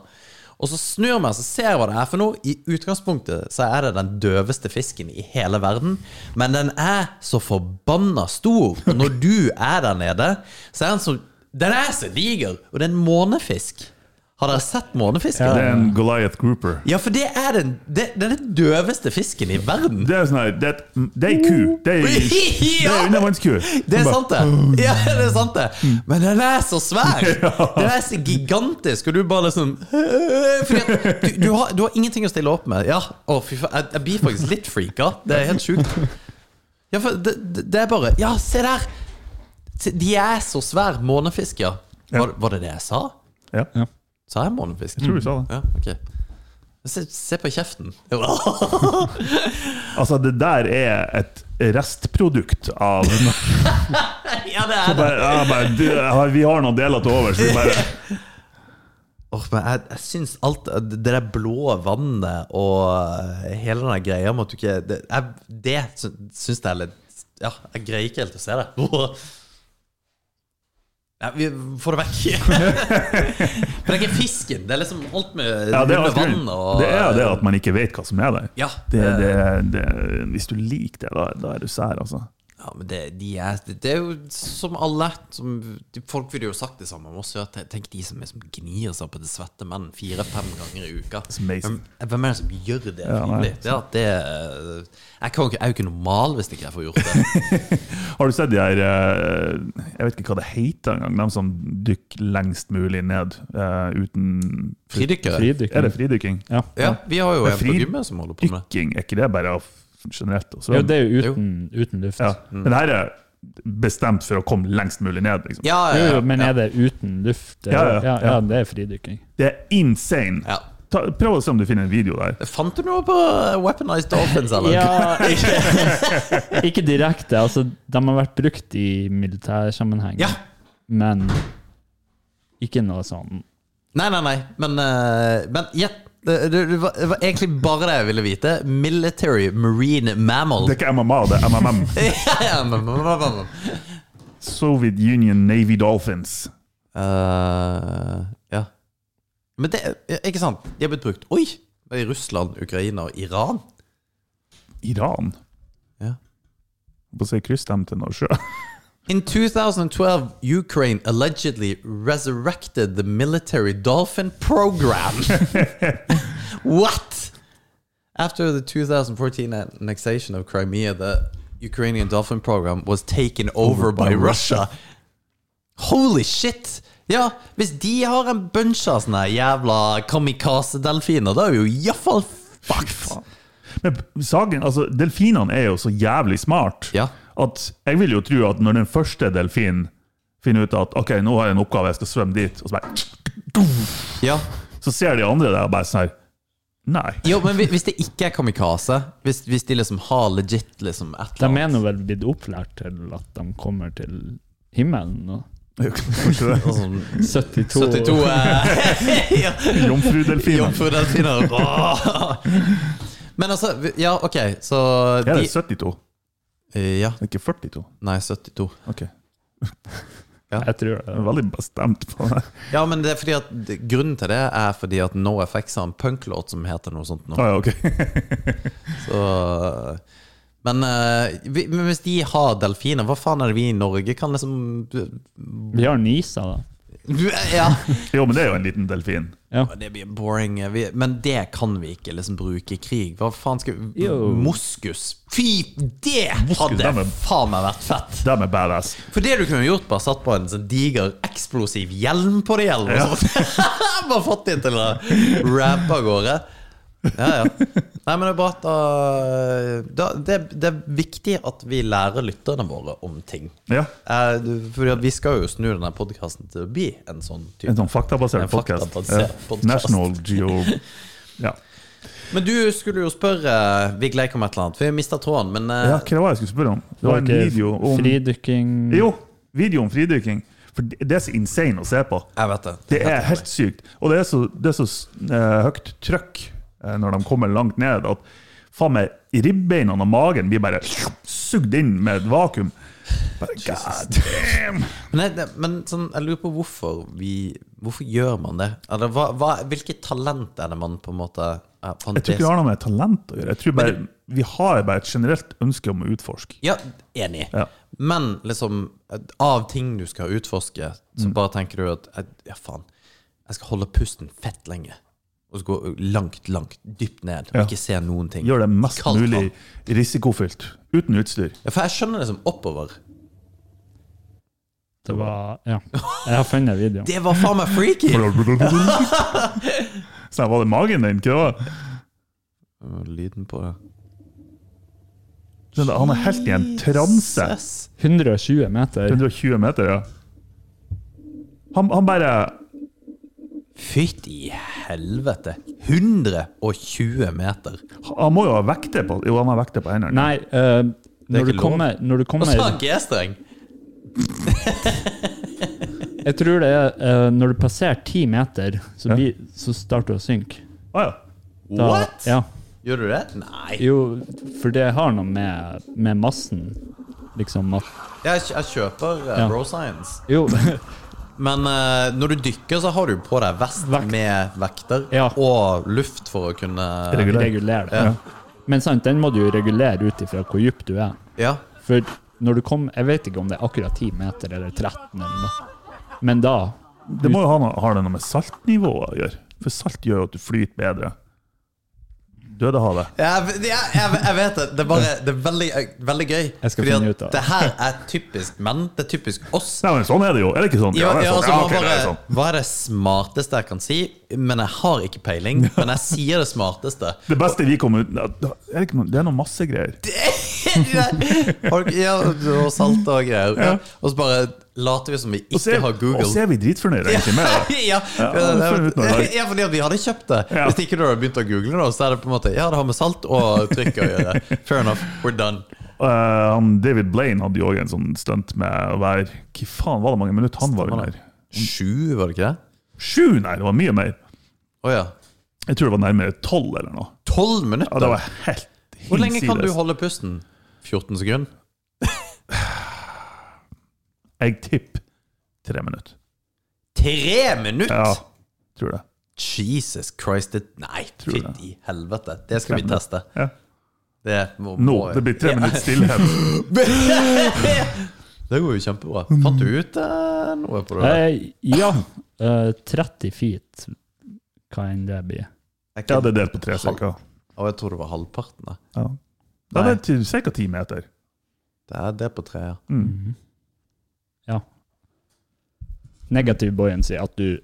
Speaker 1: Og så snur jeg meg og ser jeg hva det er for noe. I utgangspunktet så er det den døveste fisken i hele verden, men den er så forbanna stor. Og når du er der nede, så er den så Den er så diger! Og det er en månefisk. Har dere sett månefisken?
Speaker 2: Det er en Goliath grouper.
Speaker 1: Ja, for det er den, det, det er den døveste fisken i verden.
Speaker 2: Det er sånn her, det er et- det er ei ku. Det er ei det er ei undervannsku.
Speaker 1: Det er sant, det. Ja, det er sant det
Speaker 2: Mm.
Speaker 1: Men den er så svær! Den er så gigantisk, og du bare liksom Fordi at du, du, har, du har ingenting å stille opp med. Ja, å, fy faen. Jeg, jeg blir faktisk litt freaka. Det er helt sjukt. Ja, for det, det det er bare Ja, se der! Se, De er så svære, månefisker. Var, var det det jeg sa?
Speaker 2: Ja, jeg
Speaker 1: Sa jeg månefisk?
Speaker 2: tror du sa det.
Speaker 1: Ja, ok Se, se på kjeften.
Speaker 2: Altså, det der er et restprodukt av
Speaker 1: ja, det er det.
Speaker 2: bare, ja, bare, du, ja, Vi har noen deler til over, så vi bare
Speaker 1: Åh, men jeg, jeg syns alt det der blå vannet og eh, hele den der greia med at du ikke Det, jeg, det syn- syns jeg er litt Ja, jeg greier ikke helt å se det. Åh. Ja, vi får det vekk. For det er ikke fisken. Det er liksom alt med
Speaker 2: Ja, det er
Speaker 1: med
Speaker 2: alt
Speaker 1: vann
Speaker 2: grunnen.
Speaker 1: og eh,
Speaker 2: Det er det at man ikke vet hva som er der.
Speaker 1: Ja. eh,
Speaker 2: Det, det, det, hvis du liker det, da, da er du sær, altså.
Speaker 1: Ja, men det, de er, det er jo som alle. Som, de- folk ville jo sagt det samme om oss. Ja. Ten- Tenk de som, er, som gnir seg på det svette menn fire-fem ganger i uka.
Speaker 2: It's amazing.
Speaker 1: Hvem, hvem er det som gjør det
Speaker 2: Ja, nei.
Speaker 1: frivillig? Ja, det er- jeg, kan jo ikke, jeg er jo ikke normal hvis ikke jeg får gjort det.
Speaker 2: Har du sett de her eh, Jeg vet ikke hva det heter engang, de som dykker lengst mulig ned eh, uten fri-
Speaker 1: Fridykkere.
Speaker 2: Er
Speaker 3: Fridykking.
Speaker 2: det fridykking?
Speaker 3: Ja.
Speaker 1: Ja, vi har jo
Speaker 2: Men
Speaker 1: en på
Speaker 2: fri-
Speaker 1: gymmet som holder på med det.
Speaker 2: Dykking, er ikke det bare av- generelt? Også?
Speaker 3: Jo, det er jo uten, uten luft.
Speaker 2: ja.
Speaker 1: Mm.
Speaker 2: Men det her er bestemt for å komme lengst mulig ned. Liksom.
Speaker 1: Ja,
Speaker 3: Jo,
Speaker 1: ja,
Speaker 3: jo,
Speaker 1: ja.
Speaker 3: men er det uten luft?
Speaker 2: Ja, ja,
Speaker 3: ja,
Speaker 2: ja.
Speaker 3: ja det er fridykking.
Speaker 2: Det er insane!
Speaker 1: ja.
Speaker 2: Ta, prøv å se om du finner en video der.
Speaker 1: Fant du noe på Weaponized Dolphins, eller?
Speaker 3: Ja, ikke, ikke direkte. Altså, de har vært brukt i militærsammenheng,
Speaker 1: Ja.
Speaker 3: men ikke noe sånn
Speaker 1: Nei, nei, nei. Men, eh, men gjett. Det, det, det, var, det var egentlig bare det jeg ville vite. Military Marine Mammal.
Speaker 2: Det er ikke MMA, det er MMM.
Speaker 1: ja, ja, men, men, men, men.
Speaker 2: Soviet Union Navy Dolphins.
Speaker 1: Eh, ja. Men det ja, Ikke sant? De har blitt brukt Oi! Det er I Russland, Ukraina og Iran.
Speaker 2: Iran.
Speaker 1: Ja.
Speaker 2: På å si kryss dem til Nordsjø.
Speaker 1: In 2012, Ukraine allegedly resurrected the military dolphin program. what? After the 2014 annexation of Crimea, the Ukrainian dolphin program was taken over, by, Russia. Holy shit! Ja, hvis de har en bunch av sånne jævla kamikaze-delfiner, da er vi jo iallfall fucked!
Speaker 2: Men saken, altså, delfinene er jo så jævlig smart
Speaker 1: Ja.
Speaker 2: at jeg vil jo tro at når den første delfinen finner ut at ok, nå har jeg en oppgave, jeg skal svømme dit, og så bare
Speaker 1: Ja.
Speaker 2: Så ser de andre der og bare sånn her Nei.
Speaker 1: Jo, men hvi- hvis det ikke er kamikaze, hvis, hvis de liksom har legit liksom et
Speaker 3: De
Speaker 1: eller
Speaker 3: er nå vel blitt opplært til at de kommer til himmelen nå.
Speaker 1: annet sånn
Speaker 3: 72,
Speaker 1: 72 eh,
Speaker 2: Jomfrudelfinen.
Speaker 1: Jomfrudelfiner. Åh. Men altså Ja, OK, så
Speaker 2: Er det
Speaker 1: de,
Speaker 2: 72?
Speaker 1: Eh, Ja.
Speaker 2: Ikke 42?
Speaker 1: Nei, 72.
Speaker 2: Ok.
Speaker 3: Jeg tror
Speaker 2: Jeg
Speaker 3: det.
Speaker 2: er veldig bestemt på det.
Speaker 1: Ja, men det er fordi at grunnen til det er fordi at NoFX har en punklåt som heter noe sånt nå.
Speaker 2: Ah, ja, ok.
Speaker 1: Så men, eh, vi, men hvis de har delfiner, hva faen er det vi i Norge kan liksom
Speaker 3: Vi har Nisa, da.
Speaker 1: Ja.
Speaker 2: Jo, men det er jo en liten delfin.
Speaker 3: Ja.
Speaker 1: Det blir boring. eh, Vi, men det kan vi ikke liksom bruke i krig. Hva faen skal vi
Speaker 3: Jo.
Speaker 1: Moskus! Fy, det
Speaker 2: Moskus, dem er-
Speaker 1: hadde faen meg vært fett!
Speaker 2: De er badass.
Speaker 1: For det du kunne gjort, bare satt på en sånn diger eksplosiv hjelm på deg, eller noe sånt. bare fått inn til å rappe av gårde. Ja, ja. Nei, men det er bra at da, da det, det er viktig at vi lærer lytterne våre om ting.
Speaker 2: Ja.
Speaker 1: Eh, du- fordi at vi skal jo snu denne podkasten til å bli en sånn
Speaker 2: En
Speaker 1: type.
Speaker 2: sånn faktabasert
Speaker 1: En
Speaker 2: podkast.
Speaker 1: faktabasert podcast.
Speaker 2: National Geo Ja.
Speaker 1: Men du skulle jo spørre eh, Vigleik om et eller annet. Vi mista tråden, men eh,
Speaker 2: ja, hva var det jeg skulle spørre om? Det var en video om
Speaker 3: fridykking
Speaker 2: Jo, video om fridykking. For det det er så insane å se på.
Speaker 1: Jeg vet det.
Speaker 2: Det er helt sykt. Og det er så, det er så eh, høyt trøkk eh, når de kommer langt ned, at faen meg ribbeina og magen blir bare sugd inn med et vakuum. Bare, God damn!
Speaker 1: Men, jeg- det- men sånn, jeg lurer på hvorfor vi Hvorfor gjør man det? Eller hva, hva, hvilket talent er det man på en måte er
Speaker 2: Jeg tror ikke det har noe med talent å gjøre. Jeg tror bare, Vi har bare et generelt ønske om å utforske.
Speaker 1: Ja, enig.
Speaker 2: Ja.
Speaker 1: Men liksom, av ting du skal utforske, så
Speaker 2: Mm.
Speaker 1: bare tenker du at eh, Ja, faen. Jeg skal holde pusten fett lenge. Og så gå langt, langt, dypt ned, og
Speaker 2: Ja.
Speaker 1: ikke se noen ting.
Speaker 2: Gjør det mest
Speaker 1: Kaldt vann.
Speaker 2: mulig risikofylt, uten utstyr.
Speaker 1: Ja, for jeg skjønner liksom oppover.
Speaker 3: Det var Ja. Jeg har funnet videoen.
Speaker 1: Det var faen meg freaky!
Speaker 2: Så jeg var det magen din, ikke det?
Speaker 1: Lyden på det.
Speaker 2: Skjønner du, Han er helt i en transe.
Speaker 1: Jesus.
Speaker 3: 120 meter.
Speaker 2: 120 meter, ja. Han, han bare
Speaker 1: Fytti helvete. 120 meter.
Speaker 2: Han må jo ha vekter på Jo, han har vekter på hendene.
Speaker 3: Nei, eh, når,
Speaker 1: ikke
Speaker 3: du
Speaker 1: lov.
Speaker 3: kommer, når du
Speaker 1: Og
Speaker 3: kommer
Speaker 1: så har han G-streng.
Speaker 3: Jeg tror det er eh, når du passerer ti meter, så,
Speaker 2: Ja.
Speaker 3: blir, så starter du å synke.
Speaker 2: Å Ah, ja.
Speaker 3: Da-
Speaker 1: What?
Speaker 3: Ja.
Speaker 1: Gjør du det? Nei.
Speaker 3: Jo, for det har noe med, med massen Liksom at
Speaker 1: Jeg, jeg kjøper eh,
Speaker 3: Ja.
Speaker 1: Bro Science.
Speaker 3: Jo,
Speaker 1: Men eh, når du dykker, så har du på deg vest
Speaker 3: Vekt.
Speaker 1: med vekter
Speaker 3: Ja.
Speaker 1: og luft for å kunne
Speaker 2: Reguler.
Speaker 3: reguler det.
Speaker 1: Ja.
Speaker 3: Men sant, den må du jo regulere ut ifra hvor dyp du er.
Speaker 1: Ja.
Speaker 3: For når du kom Jeg vet ikke om det er akkurat 10 meter eller 13 eller noe, men da
Speaker 2: Det må jo ha noe, har det noe med saltnivået å gjøre. For salt gjør jo at du flyter bedre. Dødehavet.
Speaker 1: Jeg, jeg, jeg, jeg vet det. Det er, bare, det er veldig, eh, veldig gøy.
Speaker 3: Jeg skal finne ut av det.
Speaker 1: det her er typisk menn. Det er typisk oss.
Speaker 2: Nei, men sånn er det jo. Er det ikke sånn?
Speaker 1: Ja,
Speaker 2: det
Speaker 1: ja,
Speaker 2: er sånn.
Speaker 1: altså,
Speaker 2: Ja,
Speaker 1: man
Speaker 2: ok, det er
Speaker 1: bare,
Speaker 2: sånn.
Speaker 1: hva er det smarteste jeg kan si? Men jeg har ikke peiling. Men jeg sier det smarteste.
Speaker 2: Det beste vi kom ut er det, ikke noe, det er noe masse greier.
Speaker 1: Folk, ja, og salt og greier. Ja. Og så bare later vi som vi
Speaker 2: Og så
Speaker 1: ikke
Speaker 2: er,
Speaker 1: har Google.
Speaker 2: og så er vi dritfornøyde egentlig med det.
Speaker 1: ja, ja,
Speaker 2: det får vi ut nå i dag.
Speaker 1: ja, fordi at vi hadde kjøpt det.
Speaker 2: Ja.
Speaker 1: Hvis ikke du hadde begynt å google, da, så er det på en måte Ja, det har med salt og trykk å gjøre. Fair enough, we're done.
Speaker 2: Og, eh, han, David Blaine hadde jo også en sånn stunt med å være Hva faen var det mange minutter han var under?
Speaker 1: Sju, var det ikke det?
Speaker 2: Sju, nei, det var mye mer.
Speaker 1: Å ja.
Speaker 2: Jeg tror det var nærmere tolv eller noe.
Speaker 1: Tolv
Speaker 2: Ja, det
Speaker 1: minutter?
Speaker 2: var helt
Speaker 1: Hvor lenge kan du
Speaker 2: hinsides.
Speaker 1: holde pusten? 14 sekunder?
Speaker 2: Jeg tipper tre minutter.
Speaker 1: Tre minutter?!
Speaker 2: Ja, tror det.
Speaker 1: Jesus Christ, det, nei,
Speaker 2: Tror det.
Speaker 1: fytti helvete. Det skal vi teste.
Speaker 2: Ja.
Speaker 1: Det må,
Speaker 2: Nå,
Speaker 1: må-
Speaker 2: det blir tre
Speaker 1: Ja.
Speaker 2: minutter stillhet.
Speaker 1: Det går jo kjempebra. Fant du ut eh, noe på det?
Speaker 3: eh, Ja, eh, 30 feet, hva enn det blir.
Speaker 1: Jeg,
Speaker 2: Ja, det er delt på tre cirka.
Speaker 1: og jeg tror det var halvparten. da.
Speaker 2: Ja. Ja, det er til cirka ti meter.
Speaker 1: Det er det på tre, ja.
Speaker 2: Mm.
Speaker 3: Mhm. Ja. Negativ buoyancy, at du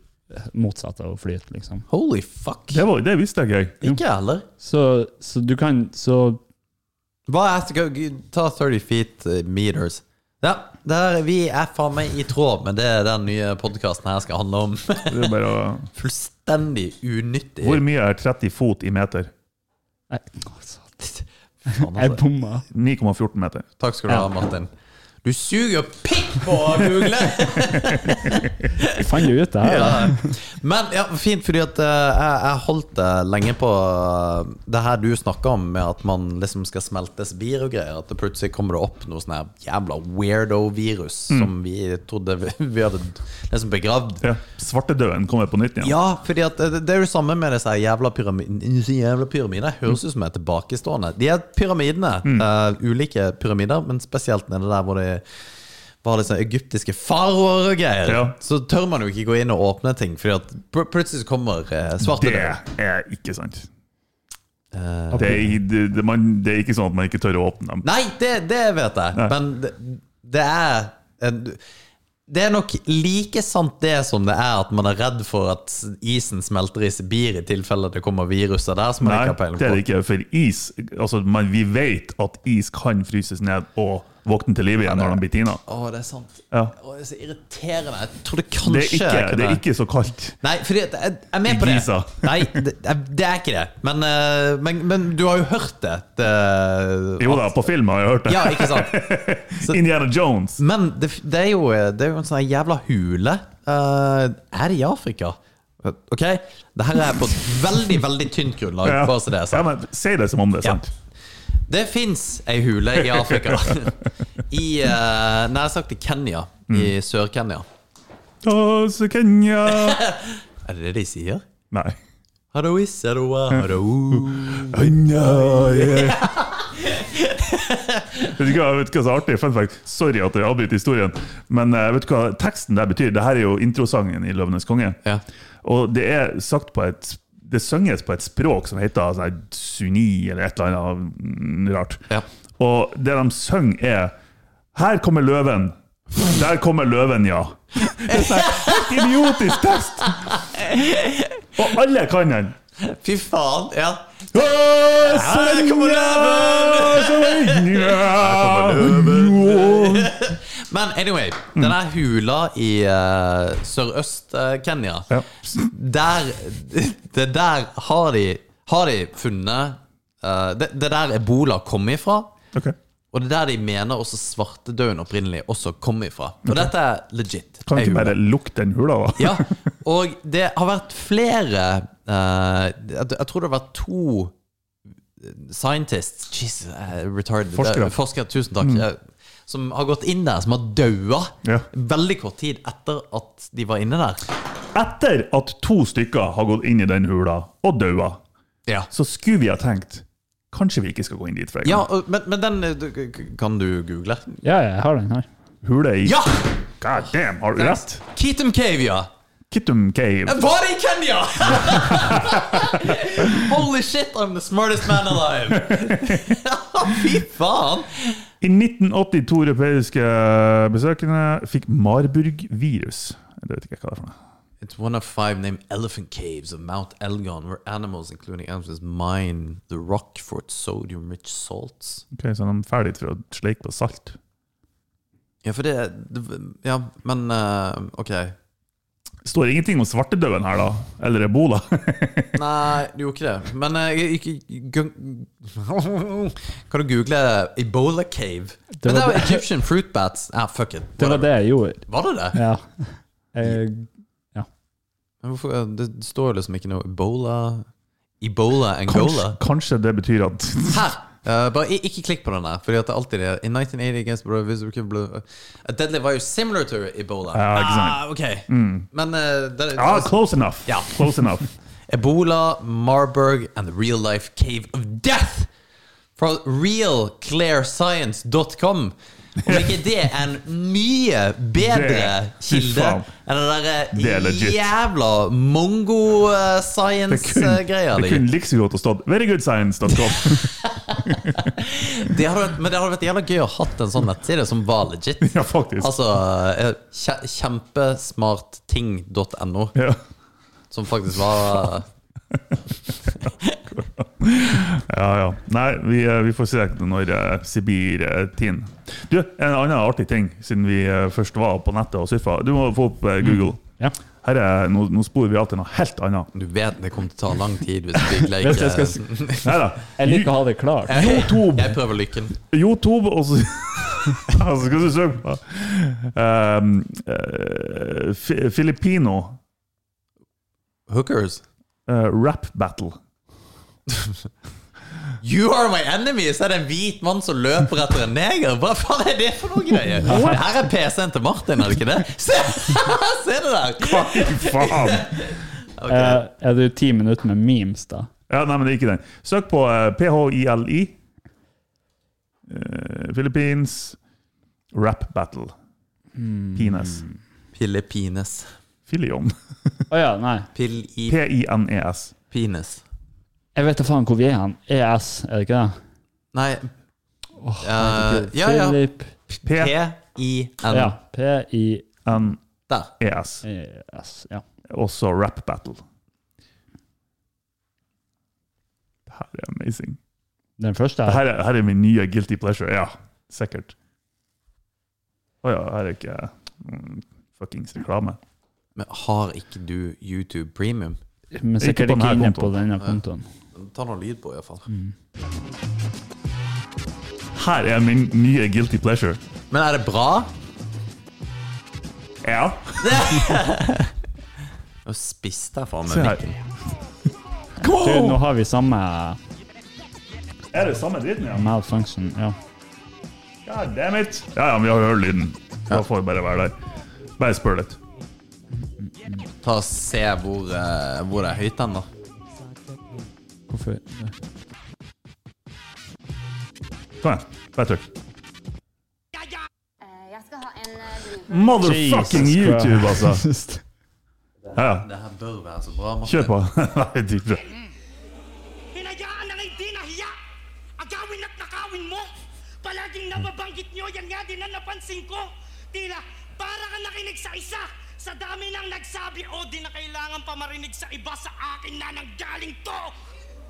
Speaker 3: motsatt av å flyte, liksom.
Speaker 1: Holy fuck!
Speaker 2: Det, var, det visste ikke jeg.
Speaker 1: Ikke jeg heller.
Speaker 3: Så, så du kan Så
Speaker 1: Hva er det- gå- gå- Ta 30 feet eh, meters. Ja, det er, vi er faen meg i tråd med det den nye podkasten her skal handle om.
Speaker 2: Det er bare å,
Speaker 1: Fullstendig unyttig.
Speaker 2: hvor mye er 30 fot i meter?
Speaker 3: Nei, altså,
Speaker 1: Faen,
Speaker 3: Jeg
Speaker 1: altså.
Speaker 3: bomma.
Speaker 2: 9,14 meter.
Speaker 1: Takk skal du ha, Martin. Du suger pikk på å google!
Speaker 3: Jeg fant jo ut det her. da.
Speaker 1: Ja. Men ja, fint, fordi at eh, jeg, jeg holdt det lenge på eh, det her du snakka om, med at man liksom skal smeltes bier og greier. At det plutselig kommer det opp noe sånn her jævla weirdo-virus som vi trodde vi, vi hadde liksom begravd.
Speaker 2: Ja. Svartedauden kommer på nytt igjen.
Speaker 1: Ja, fordi at det, det er jo det samme med disse her jævla pyramidene. Jævla pyramidene høres ut som jeg er tilbakestående. De er pyramidene,
Speaker 2: Mm.
Speaker 1: eh, ulike pyramider, men spesielt nede der hvor det var disse egyptiske faraoer og greier.
Speaker 2: Ja.
Speaker 1: Så tør man jo ikke gå inn og åpne ting, fordi at pl plutselig så kommer eh,
Speaker 2: Det
Speaker 1: svartedauden.
Speaker 2: er ikke sant.
Speaker 1: Eh,
Speaker 2: Det er, det, det, man, det er ikke sånn at man ikke tør å åpne dem.
Speaker 1: nei, det, det vet jeg, men det, det er en, det er nok like sant det som det er at man er redd for at isen smelter i Sibir i tilfelle det kommer viruser der. Som man
Speaker 2: Nei,
Speaker 1: ikke har peiling på.
Speaker 2: det er det ikke. For is altså, man, Vi vet at is kan fryses ned og våkne til liv igjen når de blir tina.
Speaker 1: Å, det er sant.
Speaker 2: Ja.
Speaker 1: Å, det er så irriterende. Jeg trodde
Speaker 2: Det
Speaker 1: kanskje
Speaker 2: er ikke,
Speaker 1: jeg kunne
Speaker 2: det er ikke så kaldt.
Speaker 1: Nei, fordi at jeg, jeg er med på det.
Speaker 2: Giza.
Speaker 1: Nei, det, jeg- det er ikke det. Men, eh, men, men du har jo hørt det. det
Speaker 2: Jo da, på film har jeg hørt det.
Speaker 1: Ja, ikke sant? så-
Speaker 2: Indiana Jones.
Speaker 1: Men det, det, er, jo, det er jo en sånn her jævla hule. Eh, er det i Afrika? Ok? Det her er på et veldig, veldig tynt grunnlag.
Speaker 2: Ja.
Speaker 1: Bare så det er
Speaker 2: Ja,
Speaker 1: sagt.
Speaker 2: men, si det som om det er
Speaker 1: Ja.
Speaker 2: sant.
Speaker 1: Det fins ei hule i Afrika. I uh, nær sagt i Kenya. I
Speaker 2: Mm.
Speaker 1: Sør-Kenya.
Speaker 2: Åh, så Kenya
Speaker 1: Er det det de sier?
Speaker 2: Nei.
Speaker 1: Hallo, is, hallo, hallo.
Speaker 2: Kenya, yeah. vet du hva vet du hva som er artig? Fun fact. Sorry at jeg avbryter historien. Men eh, vet du hva teksten der betyr? Det her er jo introsangen i 'Løvenes konge'.
Speaker 1: Ja.
Speaker 2: Og det er sagt på et Det synges på et språk som heter sånn her suni eller et eller annet mm, rart.
Speaker 1: Ja.
Speaker 2: Og det de synger, er Her kommer løven. Der kommer løven, ja. Det er sånn her helt idiotisk tekst! Og alle kan den.
Speaker 1: Fy faen, ja.
Speaker 2: Å,
Speaker 1: Her kommer
Speaker 2: løven!
Speaker 1: Men anyway, den her hula i eh, sørøst-Kenya,
Speaker 2: Ja.
Speaker 1: der Det der har de, har de funnet eh, det, det der ebola kom ifra.
Speaker 2: Ok.
Speaker 1: Og det er der de mener også svartedauden opprinnelig også kom ifra. Og dette er legit.
Speaker 2: Kan
Speaker 1: ei
Speaker 2: vi
Speaker 1: hule.
Speaker 2: ikke bare lukte den hula, da?
Speaker 1: Ja, og det har vært flere eh, jeg, jeg tror det har vært to eh, scientists Jesus, eh, retarded
Speaker 2: Forskere.
Speaker 1: eh, Forskere, tusen takk. eh, Som har gått inn der, som har daua
Speaker 2: Mm. Ja.
Speaker 1: veldig kort tid etter at de var inne der.
Speaker 2: Etter at to stykker har gått inn i den hula og daua,
Speaker 1: Ja.
Speaker 2: så skulle vi ha tenkt Kanskje vi ikke skal gå inn dit for en
Speaker 1: Ja,
Speaker 2: gang.
Speaker 1: og- men, men den eh, du- k- k- kan du google.
Speaker 3: Ja, jeg har den her.
Speaker 2: Hule i
Speaker 1: Ja!
Speaker 2: God damn, har du rett?
Speaker 1: Keatum Cave, ja.
Speaker 2: Kittum Cave.
Speaker 1: Jeg var i Kenya! Holy shit, I'm the smartest man alive! Fy faen!
Speaker 2: I 1982 europeiske besøkende fikk Marburg-virus. Det vet ikke jeg hva det er for noe.
Speaker 1: It's one of five named elephant caves of Mount Elgon, where animals, including elephants, mine the rock for its sodium-rich salts.
Speaker 2: Ok, Så de er ferdig for å sleike på salt.
Speaker 1: Ja, for det, det Ja, men eh, OK.
Speaker 2: Det står ingenting om svartedauden her, da? Eller ebola?
Speaker 1: Nei, det gjorde ikke det. Men eh, jeg, jeg, gun- Kan du google Ebola cave?
Speaker 3: Det
Speaker 1: Men det
Speaker 3: var
Speaker 1: er jo Egyptian fruit bats. Ah, fuck it.
Speaker 3: Det var det jeg gjorde.
Speaker 1: Var det det?
Speaker 3: Ja. Jeg,
Speaker 1: Men hvorfor, eh, det står jo liksom ikke noe Ebola Ebola
Speaker 2: Kanskje,
Speaker 1: Angola.
Speaker 2: kanskje det betyr at
Speaker 1: Her! Eh, bare i- ikke klikk på den der. Fordi at det alltid er In 1980 against Brother Visible Blue eh, A deadly virus similar to Ebola.
Speaker 2: Ja, ikke sant. Mm.
Speaker 1: Ah, ok. Men eh, det,
Speaker 2: Ja, close enough.
Speaker 1: Ja.
Speaker 2: Close enough.
Speaker 1: Ebola, Marburg and the real life cave of death fra realclairscience.com. Om ikke det er en mye bedre
Speaker 2: Det- fy
Speaker 1: kilde
Speaker 2: faen.
Speaker 1: enn den
Speaker 2: Det er
Speaker 1: derre
Speaker 2: legit.
Speaker 1: jævla eh,
Speaker 2: Det kunne,
Speaker 1: mongo-science-greia
Speaker 2: det
Speaker 1: di.
Speaker 2: kunne like så godt ha stått verygoodscience.com.
Speaker 1: Det hadde vært- Men det hadde vært jævla gøy å hatt en sånn nettside som var legit.
Speaker 2: Ja, faktisk.
Speaker 1: Altså eh, kje- kjempesmartting.no,
Speaker 2: Ja.
Speaker 1: som faktisk var
Speaker 2: Ja, ja. Nei, vi, eh, vi får se når eh, Sibir eh, tin. Du, en annen artig ting, siden vi eh, først var på nettet og surfa. Du må få opp eh, Google.
Speaker 3: ja.
Speaker 2: Her er, nå, nå sporer vi av til noe helt annet.
Speaker 1: Du vet det kommer til å ta lang tid hvis du ikke
Speaker 2: Hvis jeg skal s- Neida.
Speaker 3: jeg liker å ha det klart.
Speaker 2: YouTube.
Speaker 1: Jeg prøver lykken.
Speaker 2: YouTube, og så Hva skal du søke på? Um, eh, fi- Filipino
Speaker 1: Hookers.
Speaker 2: eh, rap battle.
Speaker 1: You are my enemy! Så er det en hvit mann som løper etter en neger. Hva faen er det for noe greier? Her er PC-en til Martin, er det ikke det? Se, Se det der!
Speaker 2: Fy faen!
Speaker 1: Ok.
Speaker 3: Eh, Er det jo ti minutter med memes, da?
Speaker 2: Ja, nei, men det er ikke den. Søk på eh, PHILI. Uh, Philippines rap battle. Pines.
Speaker 1: Pillipines.
Speaker 2: Filion.
Speaker 3: Å ja, nei.
Speaker 1: Pil-i-pines.
Speaker 2: P-i-n-e-s.
Speaker 3: Jeg vet da faen hvor vi er hen. ES, er det ikke det?
Speaker 1: Nei
Speaker 3: Åh,
Speaker 1: Eh,
Speaker 3: herregud.
Speaker 1: ja, ja.
Speaker 3: Philip
Speaker 1: P-i-n.
Speaker 3: Ja. P-i-s.
Speaker 2: P-n-e-s.
Speaker 1: Der.
Speaker 2: E
Speaker 3: Ja.
Speaker 2: Også rap battle. Det her er amazing.
Speaker 3: Den første
Speaker 2: Det
Speaker 3: er
Speaker 2: her er, her er min nye guilty pleasure. Ja, sikkert. Å ja, her er ikke mm, fuckings reklame.
Speaker 1: Men har ikke du YouTube Premium?
Speaker 3: Men sikkert
Speaker 2: Ikke på
Speaker 3: ikke
Speaker 2: denne
Speaker 3: inne på
Speaker 2: kontoen.
Speaker 3: denne kontoen.
Speaker 1: Ta noe lyd på, iallfall.
Speaker 2: Mm. Her er min nye guilty pleasure.
Speaker 1: Men er det bra?
Speaker 2: Ja.
Speaker 1: Nå spiste jeg faen
Speaker 2: Se
Speaker 1: meg
Speaker 2: her.
Speaker 1: mikken.
Speaker 3: Du, nå har vi samme
Speaker 2: Er det samme dritten, ja?
Speaker 3: malfunction. Ja.
Speaker 2: God damn it. Ja, ja, men vi har hørt lyden. Da får vi bare være der. Bare spør litt.
Speaker 1: Ta og Se hvor, eh, hvor det er høyt hen, da.
Speaker 3: Hvorfor
Speaker 2: Kom igjen. Bare trykk.
Speaker 4: Eh, Jeg skal ha en eh, brun
Speaker 2: Motherfucking
Speaker 3: Jesus Christ.
Speaker 2: YouTube, altså. Ja, ja.
Speaker 1: Det her bør være så bra. Martin.
Speaker 2: Kjør på. Nei, du-
Speaker 5: Hinayaan na lang dinahiya. Agawin at nakawin mo. Palaging nababanggit nyo, yan nga din ang napansin ko. Tila, para ka nakinig sa isa. Sa dami nang nagsabi, o di na kailangan pa marinig sa iba sa akin na nanggaling to.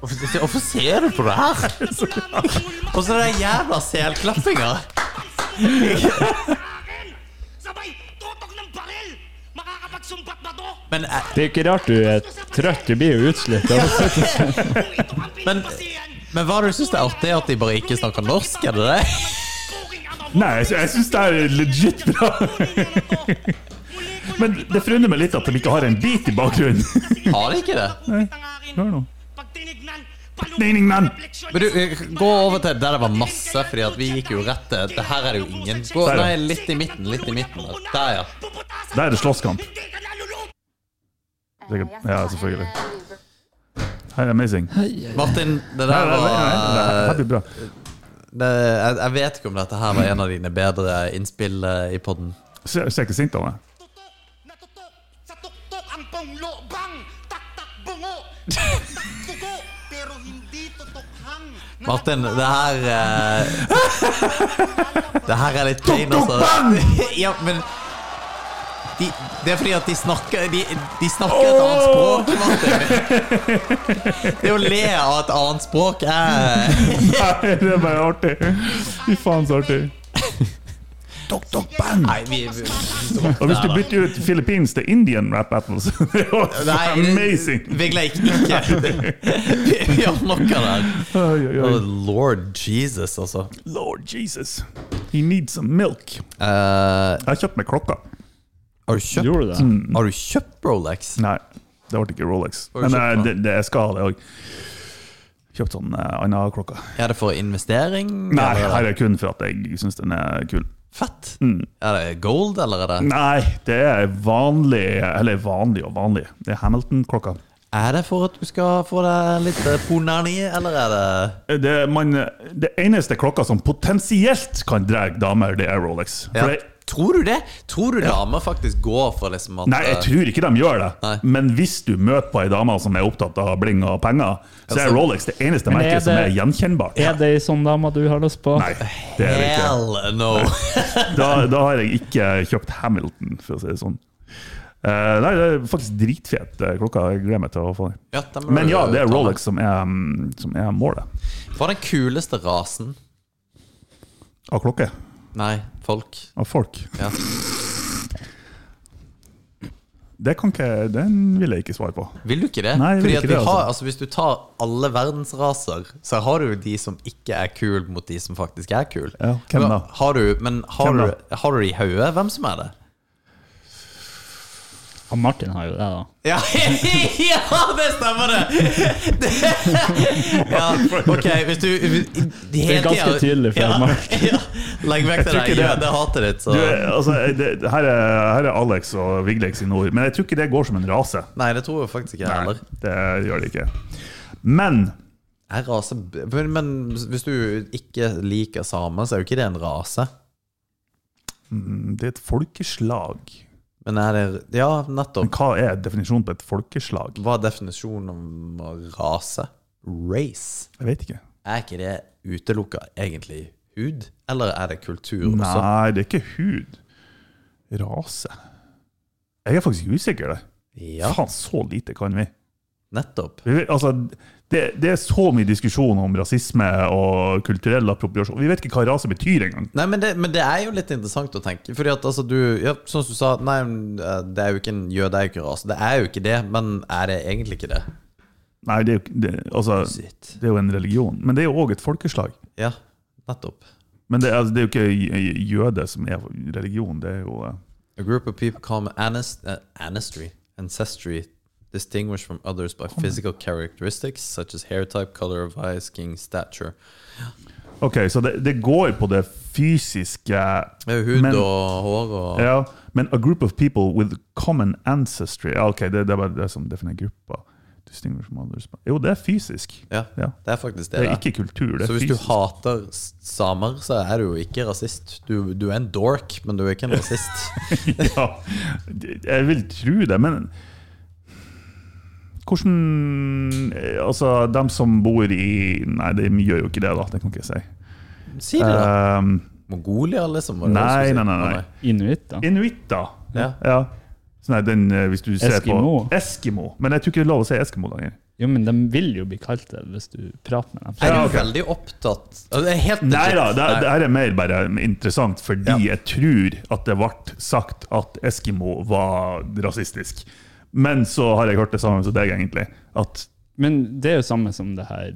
Speaker 1: Hvorfor, hvorfor ser du på det her?
Speaker 5: Natulamang umulma
Speaker 1: Og så den jævla selklappinga.
Speaker 5: sa akin. Sabay, tutok ng baril. Makakapagsumbat ba to?
Speaker 1: Men, eh,
Speaker 3: Det er ikke rart du er trøtt. Du blir jo utslitt. av å sitte-
Speaker 5: Kung ito ang pinapasiyan,
Speaker 1: men hva du syns det er artig? At de bare ikke snakker norsk? Er det det?
Speaker 5: kuking ang mga
Speaker 2: Nei, jeg, sy- jeg syns det er legit bra.
Speaker 5: kunin niya na to. Muli ko
Speaker 2: Men det forundrer meg litt at de ikke har en beat i bakgrunnen.
Speaker 1: Har de ikke det?
Speaker 5: Nakupit ang akin.
Speaker 2: Hør nå.
Speaker 5: Pag tinignan,
Speaker 2: Tinignan!
Speaker 1: Men du, eh, gå over til der det var masse, fordi at vi gikk jo rett til Det her er det jo ingen. Gå,
Speaker 2: Der, ja.
Speaker 1: nei, litt i midten. Litt i midten. der. Der, ja.
Speaker 2: Der er det slåsskamp.
Speaker 4: Eh,
Speaker 2: Sikkert.
Speaker 4: jeg skal
Speaker 2: Ja,
Speaker 4: ha en,
Speaker 2: selvfølgelig.
Speaker 4: eh, brun-
Speaker 2: Her er amazing. Nei,
Speaker 1: Martin, det
Speaker 2: nei,
Speaker 1: der
Speaker 2: nei, nei, nei, det
Speaker 1: var
Speaker 2: her blir bra.
Speaker 1: det, jeg, jeg vet ikke om dette her var en av dine bedre innspill eh, i poden.
Speaker 2: Ser ser ikke sint av meg.
Speaker 5: Tutok na tutok sa tuktok ang panglobang taktak bungo taktak tugo pero hindi tutokhang na
Speaker 1: Martin, det her eh, Det her er litt pain,
Speaker 2: Tok, tok,
Speaker 1: altså. Ja, men de, Det er fordi at de snakker De, de snakker et annet språk, Martin. Det å le av et annet språk er
Speaker 2: Nei, det er bare artig. Fy faen, så artig. Dok, dok, bang.
Speaker 1: Nei, vi, vi
Speaker 2: Og hvis du bytter ut Philippines til Indian rap battles, det er også
Speaker 1: Nei,
Speaker 2: amazing.
Speaker 1: Vi gleik ikke. Vi, vi har nok av det. her.
Speaker 2: Oi, oi,
Speaker 1: Oh,
Speaker 2: oi.
Speaker 1: Lord Jesus, altså.
Speaker 2: Lord Jesus, he needs some milk.
Speaker 1: Eh, har,
Speaker 2: Jeg kjøpte meg klokka.
Speaker 1: du kjøpt,
Speaker 3: Gjorde du det?
Speaker 1: har du kjøpt Rolex?
Speaker 2: Nei, det ble ikke Rolex.
Speaker 1: Har du
Speaker 2: Men eh,
Speaker 1: kjøpt
Speaker 2: det, det, jeg skal ha det òg. Kjøpt sånn uh, annen klokka.
Speaker 1: Er det for investering?
Speaker 2: Nei,
Speaker 1: eller er
Speaker 2: her
Speaker 1: det
Speaker 2: er kun for at jeg syns den er kul.
Speaker 1: Fett. Er det gold, eller er det
Speaker 2: Mm. Nei, det er vanlig Eller vanlig og vanlig. Det er Hamilton-klokka.
Speaker 1: Er det for at du skal få deg litt eh, ponani, eller er det
Speaker 2: Eh, Det, man, det eneste klokka som potensielt kan dra damer, det er Rolex.
Speaker 1: ja.
Speaker 2: For det,
Speaker 1: Tror du det? Tror du damer faktisk går for liksom at
Speaker 2: nei, jeg tror ikke de gjør det.
Speaker 1: Nei.
Speaker 2: Men hvis du møter på ei dame som er opptatt av bling og penger, så
Speaker 1: Altså-
Speaker 2: er Rolex det eneste
Speaker 3: Men er
Speaker 2: merket som
Speaker 3: det-
Speaker 2: er gjenkjennbart.
Speaker 3: Er det ei sånn dame du har lyst på?
Speaker 2: Nei, det er det ikke.
Speaker 1: Hell no!
Speaker 2: Da, da har jeg ikke kjøpt Hamilton, for å si det sånn. Eh, nei, det er faktisk dritfet eh, klokka. Jeg gleder meg til å få den.
Speaker 1: Ja, den må
Speaker 2: Men
Speaker 1: du
Speaker 2: ja, det er
Speaker 1: ta med.
Speaker 2: Rolex som er, mm, som er målet
Speaker 1: Hva er den kuleste rasen?
Speaker 2: av klokke.
Speaker 1: Nei, folk.
Speaker 2: Av folk.
Speaker 1: Ja.
Speaker 2: Det kan ikke, den vil jeg ikke svare på.
Speaker 1: Vil du ikke det?
Speaker 2: Nei, jeg vil
Speaker 1: Fordi at
Speaker 2: ikke
Speaker 1: vi
Speaker 2: det,
Speaker 1: har,
Speaker 2: altså.
Speaker 1: altså, Hvis du tar alle verdensraser, så har du jo de som ikke er kule, mot de som faktisk er kule.
Speaker 2: Ja, hvem da?
Speaker 1: Har du, men har
Speaker 2: Hvem
Speaker 1: du,
Speaker 2: da?
Speaker 1: har du det i hodet hvem som er det?
Speaker 3: Ja, Martin har jo det, da.
Speaker 1: Ja, ja det stemmer det! det ja, ok, hvis du Det
Speaker 3: er ganske tydelig for
Speaker 1: ja,
Speaker 3: Mark.
Speaker 1: ja, Legg vekk det
Speaker 2: tror
Speaker 1: der
Speaker 2: ikke det.
Speaker 1: jødehatet hatet ditt, så
Speaker 2: Du, altså, det, her, er, her er Alex og Vigleik sine ord, men jeg tror ikke det går som en rase.
Speaker 1: Nei, det tror jeg faktisk ikke jeg
Speaker 2: Nei,
Speaker 1: heller.
Speaker 2: det gjør det ikke. Men
Speaker 1: Er rase men, men hvis du ikke liker samer, så er jo ikke det en rase.
Speaker 2: mm, det er et folkeslag.
Speaker 1: Men er det Ja, nettopp.
Speaker 2: Men hva er definisjonen på et folkeslag?
Speaker 1: Hva er definisjonen om å rase? Race.
Speaker 2: Jeg vet ikke.
Speaker 1: Er ikke det utelukka egentlig hud, eller er det kultur også?
Speaker 2: Nei, det er ikke hud. Rase. Jeg er faktisk usikker, det.
Speaker 1: Ja,
Speaker 2: Faen, så lite kan vi.
Speaker 1: nettopp.
Speaker 2: vi vet, altså, det, det er så mye diskusjon om rasisme og kulturell appropriasjon. Vi vet ikke hva rase betyr engang.
Speaker 1: Nei, men det, men det er jo litt interessant å tenke. Fordi at altså du ja, Sånn som du sa, nei, men, eh, det er jo ikke en jøde, det er jo ikke en rase. Det er jo ikke det, men er det egentlig ikke det?
Speaker 2: Nei, det er, jo ikke- det, altså,
Speaker 1: Shit.
Speaker 2: det er jo en religion, men det er jo òg et folkeslag.
Speaker 1: Ja, nettopp.
Speaker 2: Men det, er- altså, det er jo ikke j- j- jøde som er religion, det er jo eh,
Speaker 1: A group of people called anest uh, anestry, ancestry, distinguished from others by physical characteristics such as hair type, color of eye, skin, stature.
Speaker 2: Ok, så det, det går på det fysiske
Speaker 1: Det er jo hud
Speaker 2: men,
Speaker 1: og hår og
Speaker 2: ja, men a group of people with common ancestry Ja, Ok, det, det er bare det som definerer gruppa. Distinguish from others. Jo, det er fysisk.
Speaker 1: Ja,
Speaker 2: Ja.
Speaker 1: det er faktisk det.
Speaker 2: Det
Speaker 1: det
Speaker 2: er
Speaker 1: er.
Speaker 2: ikke kultur, det er
Speaker 1: så hvis
Speaker 2: fysisk.
Speaker 1: du hater s- samer, så er du jo ikke rasist. Du, du er en dork, men du er ikke en rasist.
Speaker 2: ja, jeg vil tro det, men hvordan Altså, dem som bor i Nei, de gjør jo ikke det, da. Det kan ikke jeg si.
Speaker 1: Si det, da.
Speaker 2: Um,
Speaker 1: Mongolia, liksom? var det det du
Speaker 2: nei,
Speaker 1: skulle
Speaker 2: nei,
Speaker 1: si?
Speaker 2: nei.
Speaker 1: Å,
Speaker 2: nei.
Speaker 3: Inuitt, da.
Speaker 2: Inuitter.
Speaker 1: Ja.
Speaker 2: ja. Så nei, den, eh, hvis du ser
Speaker 3: Eskimo.
Speaker 2: på Eskimo. Men jeg tror ikke det er lov å si Eskimo lenger.
Speaker 3: Jo, men de vil jo bli kalt det hvis du prater med dem.
Speaker 1: Jeg er
Speaker 2: Ja,
Speaker 1: jo
Speaker 2: ok.
Speaker 1: veldig opptatt Altså, det er helt
Speaker 2: Nei
Speaker 1: legit.
Speaker 2: da, det,
Speaker 1: Nei.
Speaker 2: det her er mer bare interessant fordi
Speaker 1: Ja.
Speaker 2: jeg tror at det ble sagt at Eskimo var rasistisk. Men så har jeg hørt det samme som deg, egentlig. At
Speaker 3: Men det er jo samme som det her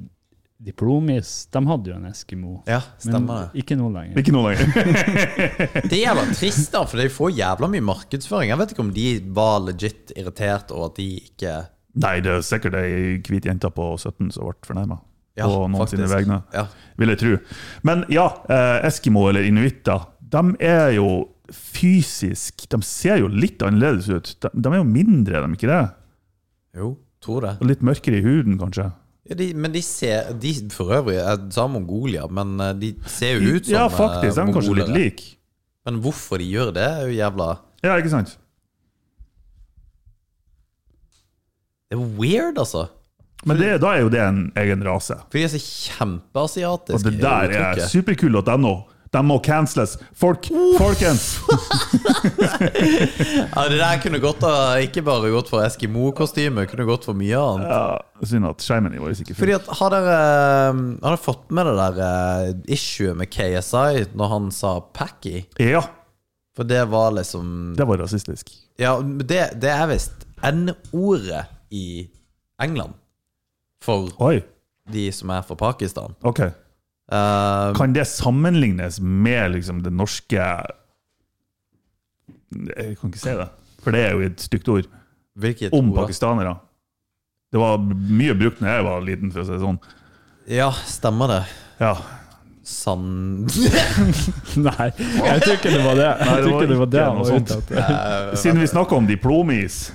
Speaker 3: Diplomis. De hadde jo en Eskimo.
Speaker 1: Ja,
Speaker 3: men
Speaker 1: stemmer det.
Speaker 3: ikke nå lenger.
Speaker 2: ikke nå lenger.
Speaker 1: Det er jævla trist, da, for de får jævla mye markedsføring. Jeg vet ikke om de var legit irritert over at de ikke
Speaker 2: Nei, det er sikkert ei hvit jente på 17 som ble fornærma.
Speaker 1: Ja,
Speaker 2: på noen sine
Speaker 1: faktisk.
Speaker 2: vegne,
Speaker 1: Ja.
Speaker 2: vil jeg tro. Men ja, eh, Eskimo eller inuitter, de er jo fysisk De ser jo litt annerledes ut. De, de er jo mindre, er de ikke det?
Speaker 1: Jo, Tror det.
Speaker 2: Og litt mørkere i huden, kanskje.
Speaker 1: Ja, de, men de ser de, For øvrig er sa Mongolia, men eh, de ser jo ut som
Speaker 2: ja,
Speaker 1: eh,
Speaker 2: faktisk. De er kanskje litt
Speaker 1: mongolere.
Speaker 2: like.
Speaker 1: Men hvorfor de gjør det, er jo jævla
Speaker 2: Ja, ikke sant?
Speaker 1: Det er weird, altså.
Speaker 2: Men det, da er jo det en egen rase.
Speaker 1: For de er så kjempeasiatiske.
Speaker 2: Og det
Speaker 1: i
Speaker 2: der er
Speaker 1: uttrykket.
Speaker 2: superkult.no. De må canceles. Folk, folkens!
Speaker 1: Ja, Det der kunne gått av, ikke bare gått for Eskimo-kostyme, kunne gått for mye annet.
Speaker 2: Ja, synd at skjermen vår ikke
Speaker 1: Fordi
Speaker 2: funker.
Speaker 1: at Har dere, eh, har dere fått med det der eh, issuet med KSI når han sa 'packy'?
Speaker 2: Ja,
Speaker 1: For det var liksom
Speaker 2: det var rasistisk.
Speaker 1: Ja, det, det er visst N-ordet i England for
Speaker 2: Oi,
Speaker 1: de som er fra Pakistan.
Speaker 2: ok.
Speaker 1: Eh,
Speaker 2: Kan det sammenlignes med liksom det norske Jeg kan ikke si det, for det er jo et stygt ord.
Speaker 1: hvilket
Speaker 2: Om
Speaker 1: ord?
Speaker 2: pakistanere. Det var mye brukt da jeg var liten, for å si det sånn.
Speaker 1: Ja, stemmer det.
Speaker 2: Ja,
Speaker 1: Sann
Speaker 3: Nei, jeg tror ikke det var det.
Speaker 2: Nei,
Speaker 3: Jeg
Speaker 2: det
Speaker 3: tror
Speaker 2: var
Speaker 3: ikke det var
Speaker 2: ikke
Speaker 3: det han
Speaker 2: noe
Speaker 3: var
Speaker 2: sånt.
Speaker 3: ute etter.
Speaker 2: Siden vi snakker om diplomis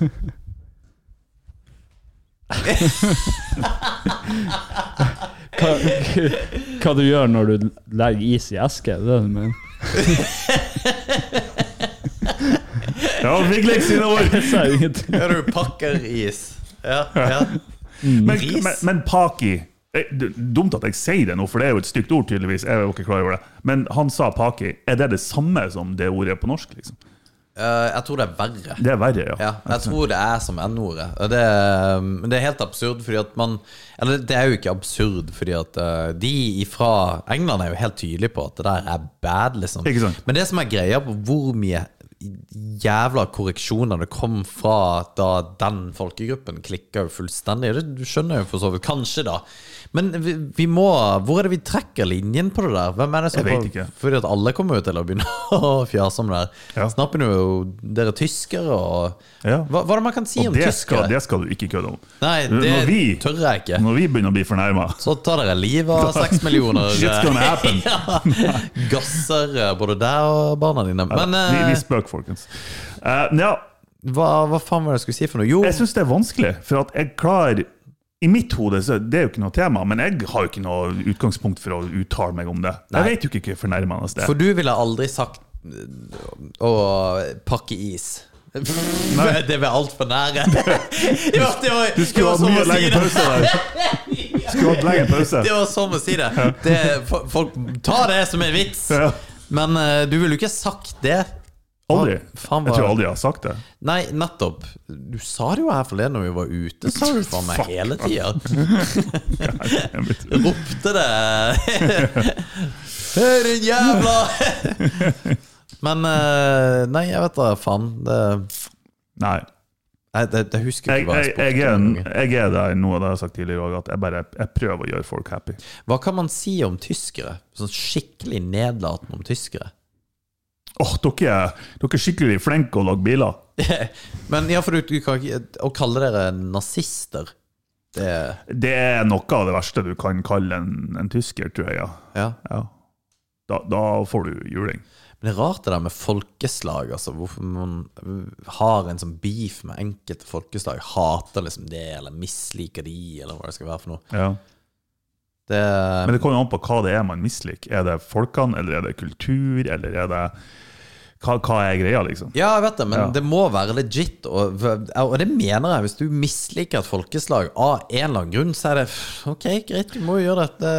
Speaker 3: Hva, hva du gjør når du legger is i eske? Det er det du mener.
Speaker 2: Ja, Vigleik sine ord!
Speaker 3: Jeg sa jo ingenting.
Speaker 1: Ja, du pakker is. Ja, ja.
Speaker 2: Men,
Speaker 1: Ris.
Speaker 2: men, men Paki eh, d- Dumt at jeg sier det nå, for det er jo et stygt ord, tydeligvis. Jeg var ikke klar over det. Men han sa Paki. Er det det samme som det ordet på norsk? liksom?
Speaker 1: Eh, jeg tror det er verre.
Speaker 2: Det er verre, ja.
Speaker 1: Ja, jeg tror det er som N-ordet. Og det, men det er helt absurd, fordi at man Eller det er jo ikke absurd, fordi at eh, de fra England er jo helt tydelige på at det der er bad, liksom.
Speaker 2: Ikke sant?
Speaker 1: Men det som er greia på hvor mye jævla korreksjoner det kom fra da den folkegruppen klikka jo fullstendig, det du skjønner jo for så vidt Kanskje, da. Men vi, vi må Hvor er det vi trekker linjen på det der? Hvem er det som
Speaker 2: Jeg vet
Speaker 1: får-
Speaker 2: ikke.
Speaker 1: fordi at alle kommer jo til å begynne å fjase om det her.
Speaker 2: Ja.
Speaker 1: Snappen er jo dere tyskere og
Speaker 2: Ja.
Speaker 1: hva, hva er det man kan si
Speaker 2: Og
Speaker 1: om
Speaker 2: det skal,
Speaker 1: tyskere?
Speaker 2: det skal du ikke kødde om.
Speaker 1: Nei, det
Speaker 2: når, vi,
Speaker 1: tør jeg ikke.
Speaker 2: når vi begynner å bli fornærma
Speaker 1: Så tar dere livet av seks millioner
Speaker 2: Shit's gonna happen.
Speaker 1: ja, gasser eh, både der og barna dine. Men
Speaker 2: Vi, vi
Speaker 1: eh,
Speaker 2: spøker, folkens. Eh, ja,
Speaker 1: hva, hva faen var det jeg skulle si for noe? Jo,
Speaker 2: jeg syns det er vanskelig, for at jeg klarer i mitt hode så det er jo ikke noe tema, men jeg har jo ikke noe utgangspunkt for å uttale meg om det.
Speaker 1: Nei.
Speaker 2: Jeg vet jo ikke hvor fornærmende det er.
Speaker 1: for du ville aldri sagt eh, å pakke is. Det var altfor nære. Det var, det var,
Speaker 2: Du
Speaker 1: det
Speaker 2: skulle
Speaker 1: var
Speaker 2: hatt
Speaker 1: som
Speaker 2: mye
Speaker 1: å si
Speaker 2: lengre
Speaker 1: det.
Speaker 2: pause der. Skulle hatt lengre pause.
Speaker 1: Det var sånn å si det. det fo- folk tar det som en vits.
Speaker 2: Ja.
Speaker 1: Men eh, du ville jo ikke sagt det.
Speaker 2: Aldri.
Speaker 1: Faen,
Speaker 2: Jeg tror
Speaker 1: hva-
Speaker 2: aldri jeg har sagt det.
Speaker 1: Nei, nettopp. Du sa det jo her forleden når vi var ute, sa du faen meg
Speaker 2: Fuck.
Speaker 1: hele tida.
Speaker 2: Jeg vet.
Speaker 1: Ropte det. Hei, din jævla Men eh, Nei, jeg vet da faen. Det,
Speaker 2: Nei.
Speaker 1: nei, det, det husker
Speaker 2: Jeg,
Speaker 1: ikke hva
Speaker 2: jeg,
Speaker 1: jeg
Speaker 2: jeg, er, en-
Speaker 1: spurte om.
Speaker 2: jeg er der nå, og det har jeg sagt tidligere òg, at jeg bare jeg prøver å gjøre folk happy.
Speaker 1: Hva kan man si om tyskere? Sånn skikkelig nedlatende om tyskere.
Speaker 2: Åh, dere, er- dere er skikkelig flinke å lage biler.
Speaker 1: Men ja, for du, du kan ikke Å kalle dere nazister, det
Speaker 2: Det er noe av det verste du kan kalle en, en tysker, tror jeg. Ja.
Speaker 1: Ja.
Speaker 2: Ja. Da, da får du juling.
Speaker 1: Men det er rart det der med folkeslag, altså. Hvorfor man har en sånn beef med enkelte folkeslag. Hater liksom det, eller misliker de, eller hva det skal være for noe.
Speaker 2: Ja.
Speaker 1: Det,
Speaker 2: Men det kommer jo an på hva det er man misliker. Er det folkene, eller er det kultur, eller er det Hva, hva er greia, liksom?
Speaker 1: ja, jeg vet det, men
Speaker 2: Ja.
Speaker 1: det må være legit. Og, og det mener jeg. Hvis du misliker et folkeslag av en eller annen grunn, så er det pff, OK, greit, du må jo gjøre dette.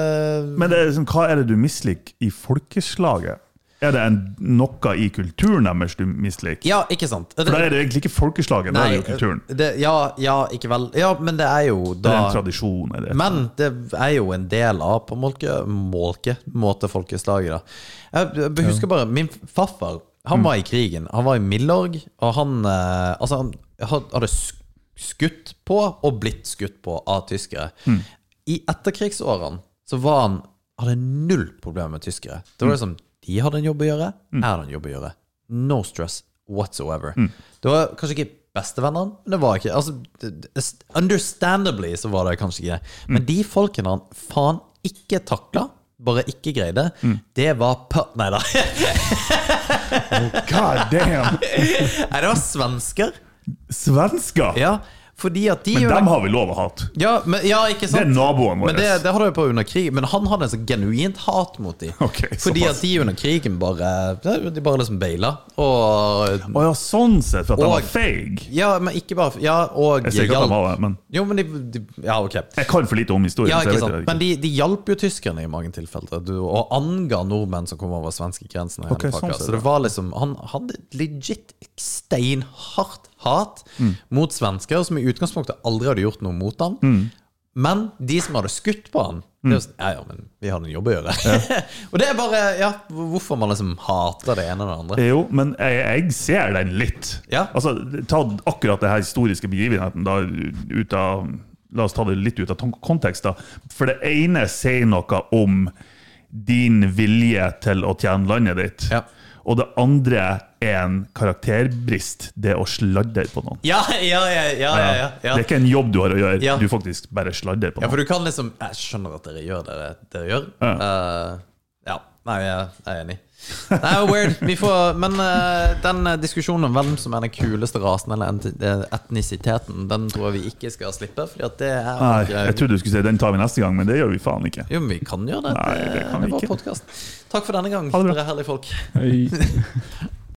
Speaker 2: Men det er liksom, hva er det du misliker i folkeslaget? Er det en, noe i kulturen deres du misliker?
Speaker 1: Ja, ikke sant?
Speaker 2: For da er det egentlig ikke folkeslaget, da er det jo kulturen.
Speaker 1: det- ja, ja, ikke vel. Ja, men det er jo
Speaker 2: Det
Speaker 1: eh, da
Speaker 2: er en tradisjon. Er det.
Speaker 1: Men det er jo en del av på molke, molke måte folkeslaget, da. Jeg jeg husker bare min farfar. Han var i krigen. Han var i Milorg, og han eh, Altså, han had- hadde sk- skutt på og blitt skutt på av tyskere. I etterkrigsårene så var han hadde null problemer med tyskere. Det var liksom De hadde en jobb å gjøre, jeg hadde en jobb å gjøre. No stress whatsoever.
Speaker 2: Mm.
Speaker 1: Det var kanskje ikke bestevennene, men det var ikke altså, det- det- Understandably så var det kanskje ikke det.
Speaker 2: Mm.
Speaker 1: Men de folkene han faen ikke takla, bare ikke greide,
Speaker 2: Mm.
Speaker 1: det var pø... Nei da.
Speaker 2: God damn!
Speaker 1: Nei, det var svensker.
Speaker 2: Svensker!
Speaker 1: Ja, Fordi at de
Speaker 2: Men
Speaker 1: jo-
Speaker 2: dem har vi lov å hate.
Speaker 1: ja, men, ja, ikke
Speaker 2: Det
Speaker 1: sant?
Speaker 2: er naboene våre.
Speaker 1: Men det, det hadde jeg på under krig Men han hadde en sånn genuint hat mot de
Speaker 2: Ok,
Speaker 1: Fordi
Speaker 2: såpass.
Speaker 1: at de under krigen bare De bare liksom beila Og
Speaker 2: Å ja, sånn sett, for at de
Speaker 1: Og-
Speaker 2: var feige.
Speaker 1: Ja, men ikke bare Ja, og
Speaker 2: Jeg ser ikke at de var det, men
Speaker 1: Jo, men de, de Ja, ok
Speaker 2: jeg kan for lite om historien.
Speaker 1: ja,
Speaker 2: så
Speaker 1: ikke
Speaker 2: jeg vet
Speaker 1: sant.
Speaker 2: det
Speaker 1: Men de, de hjalp jo tyskerne i mange tilfeller. Du, og anga nordmenn som kom over svenskegrensen. og hele
Speaker 2: Ok, sånn
Speaker 1: pakka.
Speaker 2: sett,
Speaker 1: så det
Speaker 2: ja.
Speaker 1: var liksom Han hadde et legit steinhardt hat mot svensker, som i utgangspunktet aldri hadde gjort noe mot han. Men de som hadde skutt på han det var sånn, Ja, ja, men vi hadde en jobb å gjøre. og det er bare Ja, hvorfor man liksom hater det ene og det andre.
Speaker 2: Jo, men jeg, jeg ser den litt.
Speaker 1: Ja.
Speaker 2: Altså, Ta akkurat det her historiske begivenheten da, ut av, La oss ta det litt ut av ton- kontekst. da. For det ene sier noe om din vilje til å tjene landet ditt.
Speaker 1: Ja.
Speaker 2: Og det andre er en karakterbrist, det å sladre på noen.
Speaker 1: Ja, ja, ja, ja, ja, ja, ja.
Speaker 2: Det er ikke en jobb du har å gjøre,
Speaker 1: Ja.
Speaker 2: du faktisk bare sladrer på
Speaker 1: Ja,
Speaker 2: noen.
Speaker 1: for du kan liksom Jeg skjønner at dere gjør det dere gjør. Ja.
Speaker 2: Ja.
Speaker 1: ja. Nei, jeg jeg er enig. Nei, det er weird. Vi får, men eh, den eh, diskusjonen om hvem som er den kuleste rasen eller ent- eh, etnisiteten, den tror jeg vi ikke skal slippe. Fordi at det er eh,
Speaker 2: Nei, jeg trodde du skulle si den tar vi neste gang, men det gjør vi faen ikke.
Speaker 1: Jo, men vi kan gjøre det.
Speaker 2: Nei, det kan vi
Speaker 1: er vår
Speaker 2: ikke.
Speaker 1: podcast. Takk for denne gang,
Speaker 2: det bra.
Speaker 1: dere herlige folk.
Speaker 3: Oi.